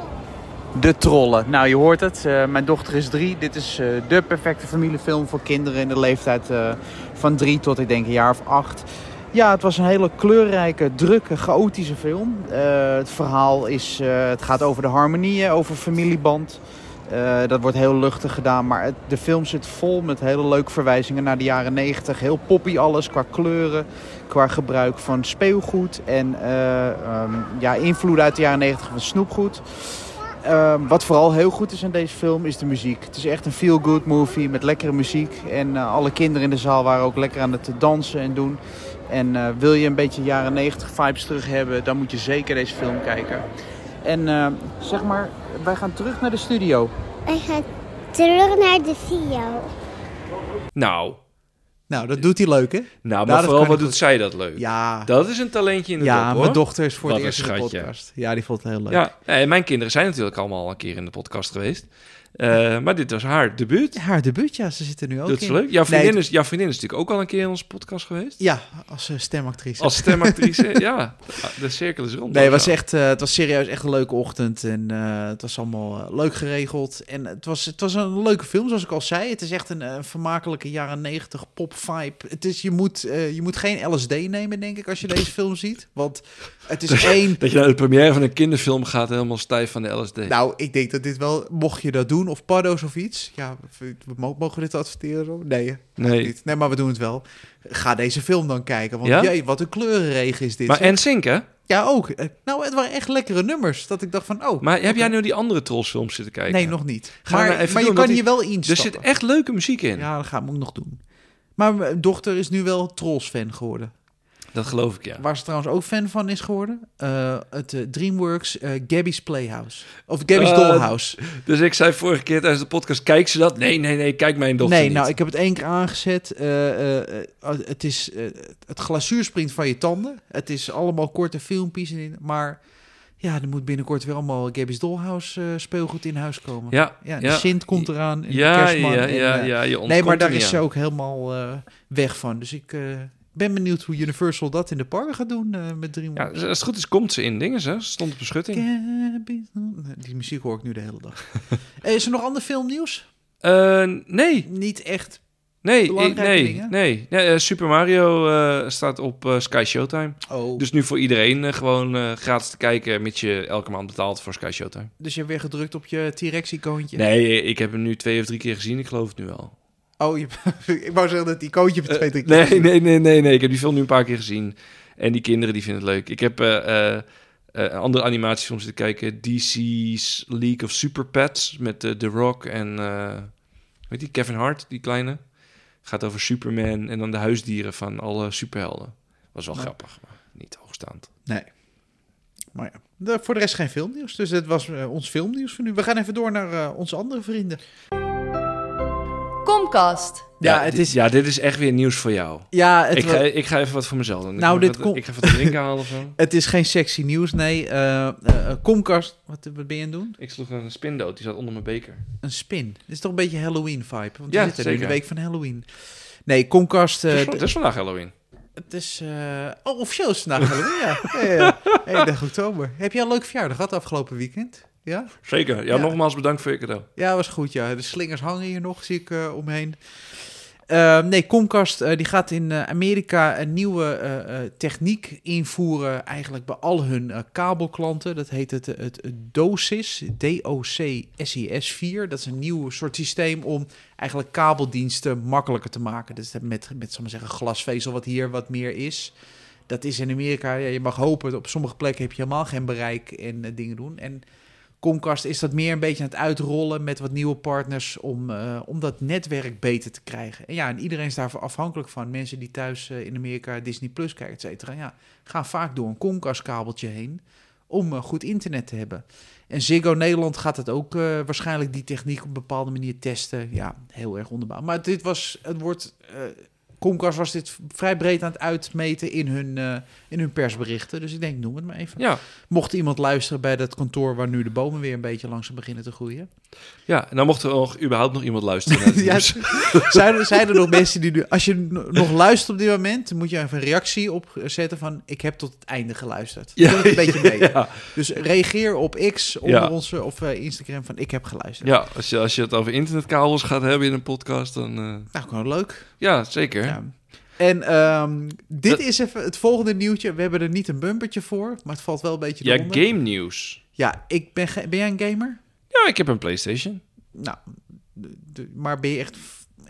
G: De trollen. Nou, je hoort het. eh, mijn dochter is drie. Dit is eh de perfecte familiefilm voor kinderen in de leeftijd eh, van drie tot ik denk een jaar of acht. Ja, het was een hele kleurrijke, drukke, chaotische film. Eh, het verhaal is, eh, het gaat over de harmonie, eh, over familieband.
B: Eh, dat wordt heel luchtig gedaan, maar het- de film zit vol met hele leuke verwijzingen naar de jaren 90. Heel poppy alles qua kleuren, qua gebruik van speelgoed en eh, ehm, ja, invloeden uit de jaren 90 van snoepgoed. Ehm, wat vooral heel goed is aan deze film is de muziek. Het is echt een feel-good movie met lekkere muziek. En eh, alle kinderen in de zaal waren ook lekker aan het dansen en doen. En eh, wil je een beetje jaren 90 vibes terug hebben, dan moet je zeker deze film kijken. En eh, zeg maar, wij gaan terug naar de studio.
H: Wij gaan terug naar de E video.
C: Nou,
F: Nou, dat doet hij leuk, hè?
C: nou maar
F: dat
C: vooral
F: kan
C: wat
F: ik
C: doet
F: goed.
C: zij dat leuk.
F: Ja,
C: Dat is een talentje in de
F: ja
C: top,
F: mijn
C: hoor.
F: dochter is voor
C: Wat
F: de
C: een
F: eerste in de
C: schatje.
F: podcast. Ja, die vond het heel leuk.
C: Ja, en mijn kinderen zijn natuurlijk allemaal een keer in de podcast geweest. Eh, maar dit was haar debuut.
F: Haar debuut, ja, ze zitten nu ook
C: dat is
F: in.
C: leuk. Jouw vriendin,
F: het-
C: is, jouw vriendin is natuurlijk ook al een keer in onze podcast geweest.
F: Ja, als eh, stemactrice.
C: Als stemactrice, ja. De cirkel is rond.
F: Nee, het
C: Of
F: was,
C: zo.
F: echt, eh, het was serieus echt een leuke ochtend. En eh, het was allemaal eh, leuk geregeld. En het was, het was een leuke film, zoals ik al zei. Het is echt een eh, vermakelijke jaren negentig pop vibe. Het is, je, moet, eh, je moet geen LSD nemen, denk ik, als je deze film ziet. Want het is één...
C: Dat je naar de première van een kinderfilm gaat helemaal stijf van de LSD.
F: Nou, ik denk dat dit wel... Mocht je dat doen, of paddo's of iets... Ja, we- we mo- mogen we dit adverteren? Nee, hè?
C: nee.
F: niet. Nee, maar we doen het wel. Ga deze film dan kijken. Want
C: Ja?
F: jee, wat een kleurenregen is dit.
C: maar
F: zeg.
C: NSYNC, hè?
F: Ja, ook. Eh, Nou, het waren echt lekkere nummers. Dat ik dacht van, oh...
C: Maar heb jij nu die andere Trolls-films zitten kijken?
F: Nee, nog niet.
C: Ga
F: maar
C: nou even
F: maar je
C: doen,
F: kan
C: want
F: je wel instappen.
C: Er zit echt leuke muziek in.
F: Ja, dat ga ik ook nog doen. Maar mijn dochter is nu wel Trolls-fan geworden.
C: Dat geloof ik, ja.
F: Waar ze trouwens ook fan van is geworden. eh, het eh, DreamWorks eh, Gabby's Playhouse. Of Gabby's
C: Eh,
F: Dollhouse.
C: Dus ik zei vorige keer tijdens de podcast, kijk ze dat? Nee, nee, nee, kijk mijn dochter
F: Nee,
C: niet.
F: nou, ik heb het één keer aangezet. Eh, eh, eh, het, is, eh, het glazuur springt van je tanden. Het is allemaal korte filmpjes. En, maar ja, er moet binnenkort weer allemaal Gabby's Dollhouse eh, speelgoed in huis komen.
C: Ja, ja.
F: ja, de Sint komt eraan. En de
C: ja,
F: kerstman.
C: ja,
F: en,
C: ja,
F: eh,
C: ja, je
F: Nee, maar
C: ontkomt er
F: daar
C: niet
F: is ze
C: aan.
F: ook helemaal eh, weg van. Dus ik eh, ben benieuwd hoe Universal dat in de parken gaat doen eh, met
C: Ja,
F: DreamWorks.
C: als het goed is, komt ze in dingen, hè? Ze stond op beschutting.
F: Gabby's Doll- Eh, Die muziek hoor ik nu de hele dag. Eh, is er nog ander filmnieuws?
C: Eh, nee,
F: Niet echt.
C: nee, ik-
F: Belangrijke
C: nee, nee.
F: dingen?
C: Nee, eh, Super Mario eh, staat op eh, Sky Showtime.
F: Oh, dus,
C: Dus nu voor iedereen eh, gewoon eh, gratis te kijken, mits je elke maand betaalt voor Sky Showtime.
F: Dus je hebt weer gedrukt op je T-Rex-icoontje?
C: Nee, ik heb hem nu twee of drie keer gezien, ik geloof het nu al.
F: Oh, je, ik wou zeggen dat het icoontje van twee, drie keer.
C: Eh, Nee, nee, nee, nee, nee. Ik heb die film nu een paar keer gezien. En die kinderen die vinden het leuk. Ik heb eh, eh, eh, andere animatiefilms zitten kijken. DC's League of Super Pets met eh, The Rock en eh, weet die Kevin Hart, die kleine. Gaat over Superman en dan de huisdieren van alle superhelden. Was wel
F: Ja.
C: grappig, maar niet hoogstaand.
F: Maar ja, de- voor de rest geen filmnieuws. Dus dat was eh, ons filmnieuws voor nu. We gaan even door naar eh, onze andere vrienden.
A: Comcast.
F: Ja, het
C: dit-
F: is-
C: ja, dit is echt weer nieuws voor jou.
F: Ja, het
C: Ik ga, ik ga even wat voor mezelf doen. Ik
F: Nou,
C: moet
F: dit
C: wat-
F: komt-
C: Ik ga even wat te drinken halen of zo.
F: Het is geen sexy nieuws, nee. Eh, eh, eh, Comcast, wat, wat ben je aan het doen?
C: Ik sloeg een spindood, die zat onder mijn beker.
F: Een spin. Dit is toch een beetje Halloween-vibe? Want
C: Ja,
F: we zitten nu in de
C: zeker.
F: week van Halloween. Nee, Comcast... eh,
C: Het is-
F: d-
C: het is vandaag Halloween.
F: het is... eh, oh, officieel is het vandaag Halloween, ja. ja, ja, ja. Hey, dag oktober. Heb jij een leuk verjaardag gehad afgelopen weekend? Ja?
C: Zeker. Ja,
F: Ja.
C: nogmaals bedankt voor je cadeau.
F: Ja, was goed, ja. De slingers hangen hier nog, zie ik eh, omheen. Eh, nee, Comcast eh, die gaat in eh, Amerika een nieuwe eh, eh, techniek invoeren, eigenlijk bij al hun eh, kabelklanten. Dat heet het, eh, het DOCSIS, DOCSIS 4. Dat is een nieuw soort systeem om eigenlijk kabeldiensten makkelijker te maken. Dus dat met, met zal ik maar zeggen, glasvezel wat hier wat meer is. Dat is in Amerika, ja, je mag hopen, op sommige plekken heb je helemaal geen bereik en eh, dingen doen. En Comcast is dat meer een beetje aan het uitrollen met wat nieuwe partners om, eh, om dat netwerk beter te krijgen. En ja, en iedereen is daarvoor afhankelijk van. Mensen die thuis eh, in Amerika Disney Plus kijken, et cetera, ja, gaan vaak door een Comcast kabeltje heen om eh, goed internet te hebben. En Ziggo Nederland gaat het ook eh, waarschijnlijk die techniek op een bepaalde manier testen. Ja, heel erg onderbouwd. Maar dit was, het wordt, eh, Comcast was dit vrij breed aan het uitmeten in hun, eh, in hun persberichten. Dus ik denk, noem het maar even.
C: Ja,
F: Mocht iemand luisteren bij dat kantoor waar nu de bomen weer een beetje langzaam beginnen te groeien.
C: Ja, en dan mocht er nog, überhaupt nog iemand luisteren. naar dit
F: Ja,
C: nieuws.
F: Zijn er, zijn er nog mensen die nu, als je n- nog luistert op dit moment, dan moet je even een reactie opzetten van ik heb tot het einde geluisterd. Ja. het een beetje mee.
C: ja,
F: Dus reageer op X onder
C: Ja.
F: onze of eh, Instagram van ik heb geluisterd.
C: ja als, je, als je het over internetkabels gaat hebben in een podcast, dan... eh,
F: Nou, gewoon leuk.
C: ja, zeker.
F: Ja. En ehm, dit
C: Dat-
F: is even het volgende nieuwtje. We hebben er niet een bumpertje voor, maar het valt wel een beetje
C: Ja,
F: eronder.
C: game nieuws.
F: Ja, ik ben, ge- ben jij een gamer?
C: Ja, ik heb een Playstation.
F: nou, de- de- maar ben je echt,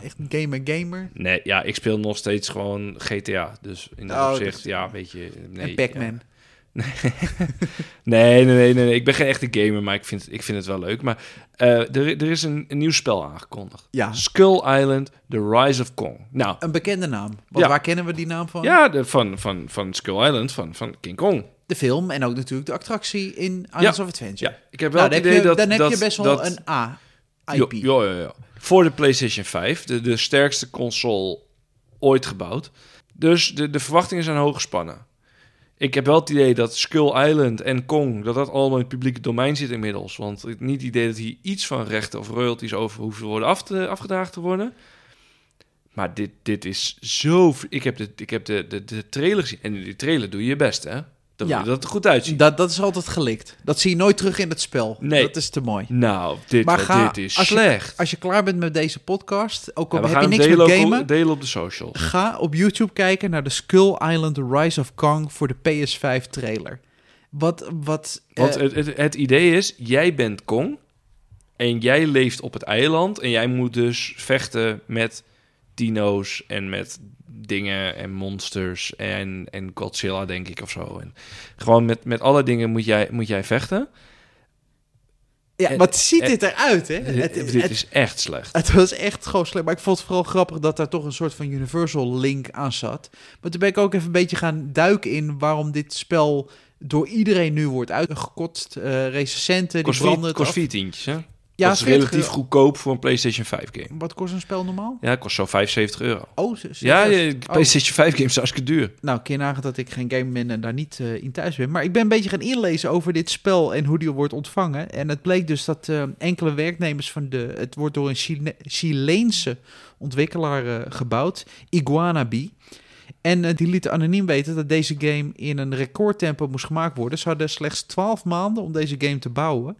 F: echt gamer-gamer?
C: Nee, ja, ik speel nog steeds gewoon GTA. Dus in dat
F: Oh,
C: opzicht,
F: dus-
C: ja, weet je... Nee,
F: en Pac-Man.
C: Nee, nee, nee, nee, nee. Ik ben geen echte gamer, maar ik vind, ik vind het wel leuk. Maar eh, er, er is een, een nieuw spel aangekondigd.
F: Ja.
C: Skull Island, The Rise of Kong. Nou,
F: Een bekende naam. Want
C: Ja.
F: waar kennen we die naam van? Ah,
C: ja, de, van, van, van Skull Island, van, van King Kong.
F: De film en ook natuurlijk de attractie in Islands of Adventure.
C: Ja, ik heb wel
F: Nou,
C: het
F: dan heb,
C: idee dat...
F: je, dan heb
C: dat,
F: je best wel
C: dat,
F: een A.
C: Jo,
F: IP.
C: jo, jo, jo. Voor de PlayStation 5, de, de sterkste console ooit gebouwd. Dus de, de verwachtingen zijn hoog gespannen. Ik heb wel het idee dat Skull Island en Kong, dat dat allemaal in het publieke domein zit inmiddels. Want ik heb niet het idee dat hier iets van rechten of royalties over hoeven worden af te, afgedragen te worden. Maar dit, dit is zo... v- Ik heb, de, ik heb de, de, de trailer gezien. En in die trailer doe je je best, hè? Dan
F: Ja.
C: moet je dat er goed uitzien.
F: Dat, dat is altijd gelikt. Dat zie je nooit terug in het spel.
C: Nee.
F: Dat is te mooi.
C: Nou, dit,
F: Maar ga-
C: dit is
F: als je-
C: slecht.
F: Als je klaar bent met deze podcast, ook al
C: Ja, we
F: heb
C: gaan
F: je
C: hem
F: niks
C: delen,
F: met
C: ook-
F: gamen,
C: delen op de social.
F: ga op YouTube kijken naar de Skull Island The Rise of Kong voor de PS5 trailer. Wat, wat,
C: Want
F: eh,
C: het, het, het idee is, jij bent Kong en jij leeft op het eiland en jij moet dus vechten met dino's en met dingen en monsters en, en Godzilla, denk ik, of zo. En gewoon met, met alle dingen moet jij, moet jij vechten.
F: ja,
C: eh,
F: wat ziet
C: eh,
F: dit eruit, hè?
C: Dit,
F: Het,
C: dit
F: het-
C: is echt slecht.
F: het was echt gewoon slecht. Maar ik vond het vooral grappig dat daar toch een soort van Universal link aan zat. Maar toen ben ik ook even een beetje gaan duiken in waarom dit spel door iedereen nu wordt uitgekotst. Eh recensenten, die
C: Kost
F: branden
C: vier,
F: het
C: kost
F: af.
C: vier tientjes, hè?
F: Ja,
C: dat is
F: 40
C: relatief
F: euro.
C: goedkoop voor een PlayStation 5 game.
F: Wat kost een spel normaal?
C: Ja, kost zo 75 euro.
F: Oh, ze- ze-
C: Ja,
F: ze-
C: je, de PlayStation 5 games is hartstikke duur.
F: Nou, keer nagaan dat ik geen gamer ben en daar niet eh, in thuis ben. Maar ik ben een beetje gaan inlezen over dit spel en hoe die wordt ontvangen. En het bleek dus dat eh, enkele werknemers van de... Het wordt door een Chile- Chileense ontwikkelaar eh, gebouwd, Iguanabi. En eh, die lieten anoniem weten dat deze game in een recordtempo moest gemaakt worden. Ze hadden slechts 12 maanden om deze game te bouwen.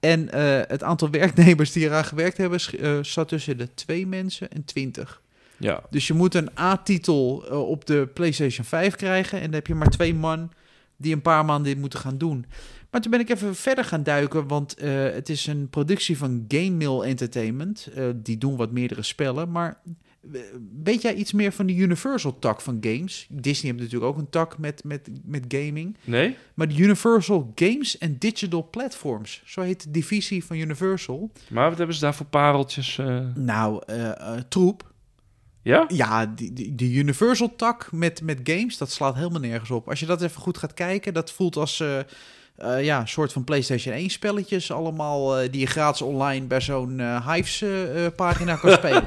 F: En eh, het aantal werknemers die eraan gewerkt hebben sch- eh, zat tussen de 2 mensen en 20.
C: Ja,
F: Dus je moet een A-titel eh, op de PlayStation 5 krijgen. En dan heb je maar twee man die een paar maanden dit moeten gaan doen. Maar toen ben ik even verder gaan duiken, want eh, het is een productie van Game Mill Entertainment. Eh, die doen wat meerdere spellen, maar eh, weet jij iets meer van de Universal-tak van games? Disney heeft natuurlijk ook een tak met, met, met gaming.
C: nee?
F: Maar de Universal Games and Digital Platforms, zo heet de divisie van Universal.
C: Maar wat hebben ze daar voor pareltjes? eh?
F: Nou, eh, eh, troep.
C: Ja?
F: Ja, die, die, die Universal-tak met, met games, dat slaat helemaal nergens op. Als je dat even goed gaat kijken, dat voelt als eh eh, ja, een soort van PlayStation 1-spelletjes. Allemaal eh, die je gratis online bij zo'n eh Hives-pagina kan spelen.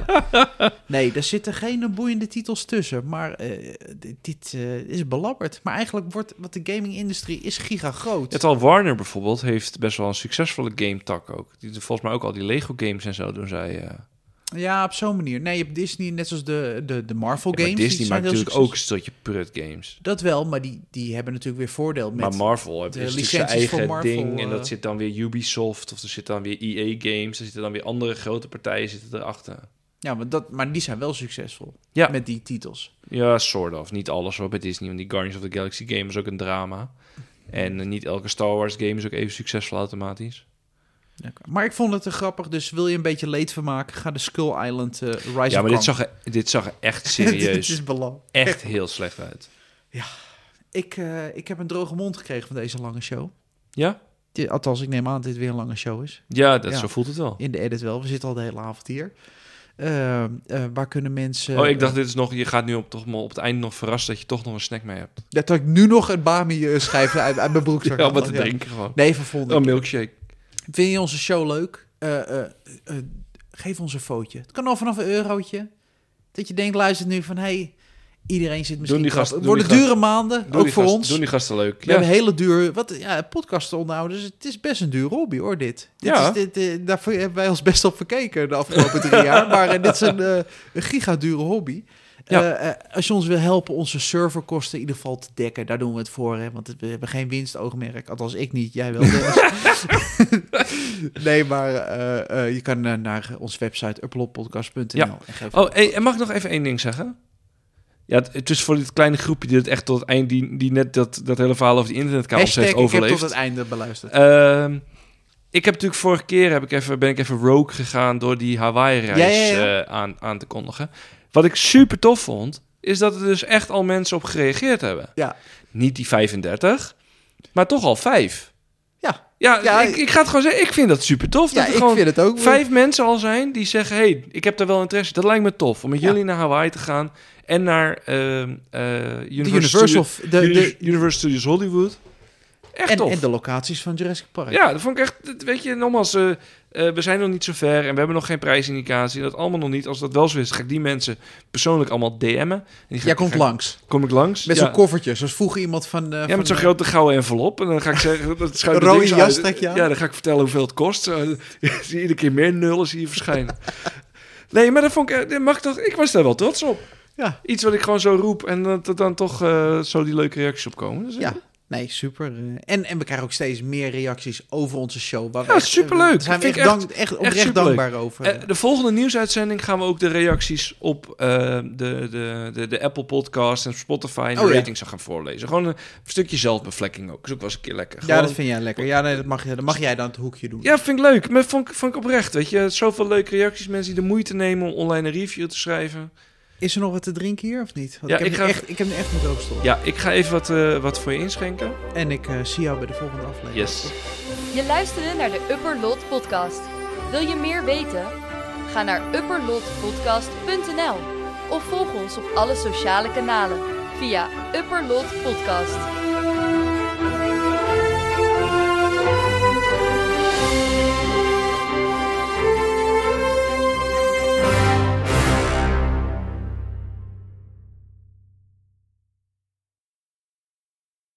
F: Nee, daar zitten geen eh, boeiende titels tussen. Maar eh, dit, dit, eh, is belabberd. Maar eigenlijk wordt wat de gaming-industrie is gigagroot.
C: Het al Warner bijvoorbeeld heeft best wel een succesvolle game tak ook. Die doen volgens mij ook al die Lego games en zo doen zij. eh. Ja,
F: Ja, op zo'n manier. Nee, je hebt Disney, net zoals de, de, de
C: maar
F: Marvel-games.
C: Disney maakt natuurlijk ook
F: ook
C: een stukje prut games.
F: Dat wel, maar die, die hebben natuurlijk weer voordeel met...
C: maar Marvel heeft
F: de
C: natuurlijk zijn
F: licenties
C: eigen
F: van Marvel,
C: ding en dat
F: eh.
C: zit dan weer Ubisoft of er zit dan weer EA games. Er zitten dan weer andere grote partijen zitten erachter.
F: Ja, maar, dat, maar die zijn wel succesvol
C: Ja.
F: met die titels.
C: Ja, soort of. Niet alles hoor bij Disney, want die Guardians of the Galaxy game is ook een drama. En eh, niet elke Star Wars game is ook even succesvol automatisch.
F: Maar ik vond het te grappig, dus wil je een beetje leed van maken, ga de Skull Island eh, Rise of
C: ja, maar dit
F: Kong.
C: zag, er, dit zag er echt
F: dit
C: serieus
F: is belang.
C: echt heel slecht uit.
F: Ik, eh, ik heb een droge mond gekregen van deze lange show.
C: Ja?
F: Dit- Althans, ik neem aan dat dit weer een lange show is.
C: Ja, dat,
F: Ja.
C: zo voelt het wel.
F: In de edit wel, we zitten al de hele avond hier. Eh, eh, waar kunnen mensen...
C: Oh, ik dacht, dit is nog, je gaat nu op, toch, maar op het eind nog verrassen dat je toch nog een snack mee hebt.
F: Ja, dat ik nu nog een bami eh, schijf uit, uit mijn broekzak
C: Ja,
F: haal,
C: wat te denken gewoon.
F: Nee, van volgende
C: Oh, Een milkshake.
F: Vind je onze show leuk? Eh, eh, eh, geef ons een fotootje. Het kan al vanaf een eurotje. Dat je denkt, luister nu van... hey, iedereen zit misschien...
C: die
F: krap.
C: gast-
F: het
C: doen die
F: worden dure maanden, ook
C: die
F: voor
C: gast-
F: ons.
C: Doen die gasten leuk.
F: We
C: Ja.
F: hebben hele duur... Wat, ja, podcasten onderhouden, dus het is best een duur hobby hoor, dit. dit
C: Ja.
F: is, dit eh, daarvoor hebben wij ons best op verkeken de afgelopen drie jaar. Maar eh, dit is een, eh, een gigadure hobby.
C: Ja.
F: Eh, eh, als je ons wil helpen onze serverkosten in ieder geval te dekken, daar doen we het voor. Hè? Want we hebben geen winstoogmerk. Althans, ik niet, jij wel. Dennis. nee, maar eh, eh, je kan eh, naar onze website uploadpodcast.nl
C: Ja.
F: en geef
C: Oh, hey, en mag ik nog even één ding zeggen? Ja, het, het is voor dit kleine groepje die het echt tot het eind, die, die net dat, dat hele verhaal over die internetkabels
F: hashtag
C: heeft
F: ik heb tot
C: overleefd.
F: het einde beluisterd.
C: Ehm, Ik heb natuurlijk vorige keer heb ik even, ben ik even rogue gegaan door die Hawaii-reis
F: Ja, ja,
C: eh, aan, aan te kondigen. Wat ik super tof vond, is dat er dus echt al mensen op gereageerd hebben.
F: Ja.
C: Niet die 35, maar toch al vijf.
F: Ja.
C: Ja,
F: Ja,
C: ik, ik ga het gewoon zeggen. Ik vind dat super tof.
F: Ja,
C: dat er
F: ik
C: gewoon
F: vind het ook.
C: vijf mensen al zijn die zeggen... hey, ik heb daar wel interesse. in. Dat lijkt me tof om met
F: Ja.
C: jullie naar Hawaii te gaan... en naar ehm eh
F: de
C: Universal,
F: Universal,
C: Studio-
F: de, de,
C: Uni- Universal Studios Hollywood. Echt
F: en,
C: tof.
F: en de locaties van Jurassic Park.
C: Ja, dat vond ik echt... dat- Weet je, nogmaals, eh, eh, we zijn nog niet zo ver... en we hebben nog geen prijsindicatie. Dat allemaal nog niet. Als dat wel zo is, ga ik die mensen persoonlijk allemaal DM'en. En die ga
F: Jij
C: ik-
F: komt
C: ga ik-
F: langs.
C: Kom ik langs.
F: Met
C: ja.
F: zo'n koffertje. Zoals vroeger iemand van... eh
C: Ja,
F: van,
C: met zo'n grote gouden envelop. En dan ga ik zeggen... Dat schuif ik
F: Een rode
C: niks
F: jas
C: uit.
F: trek je aan.
C: Ja, dan ga ik vertellen hoeveel het kost. Zo, je ziet Iedere keer meer nullen zie je verschijnen. Nee, maar dat vond ik... eh, dat Mag ik, toch, ik was daar wel trots op.
F: Ja.
C: Iets wat ik gewoon zo roep en dat er dan toch eh, zo die leuke reacties op komen. Dus, eh,
F: Ja. Nee, super. eh, En, en we krijgen ook steeds meer reacties over onze show. Waar we
C: Ja,
F: echt, eh,
C: superleuk.
F: Daar zijn we
C: Vind
F: echt,
C: ik echt-
F: dank, echt oprecht
C: superleuk.
F: dankbaar over.
C: Eh, de volgende nieuwsuitzending gaan we ook de reacties op eh, de, de, de, de Apple Podcast en Spotify en de
F: Oh, ja.
C: ratings gaan voorlezen. Gewoon een stukje zelfbevlekking ook. Dus ook was een keer lekker.
F: ja,
C: Gewoon-
F: dat vind jij lekker. Ja, nee, dat mag, je- dat mag jij dan het hoekje doen.
C: Ja, vind ik leuk. Maar vond, ik- vond ik oprecht, weet je. Zoveel leuke reacties. Mensen die de moeite nemen om online een review te schrijven.
F: Is er nog wat te drinken hier of niet? Want
C: Ja,
F: ik, heb
C: ik
F: nu
C: ga-
F: echt, ik heb nu echt mijn doopstok.
C: Ja, ik ga even wat, eh, wat voor je inschenken.
F: En ik eh, zie jou bij de volgende aflevering.
C: Yes.
A: Je luisterde naar de Upper Lot Podcast. Wil je meer weten? Ga naar upperlotpodcast.nl of volg ons op alle sociale kanalen via Upper Lot Podcast.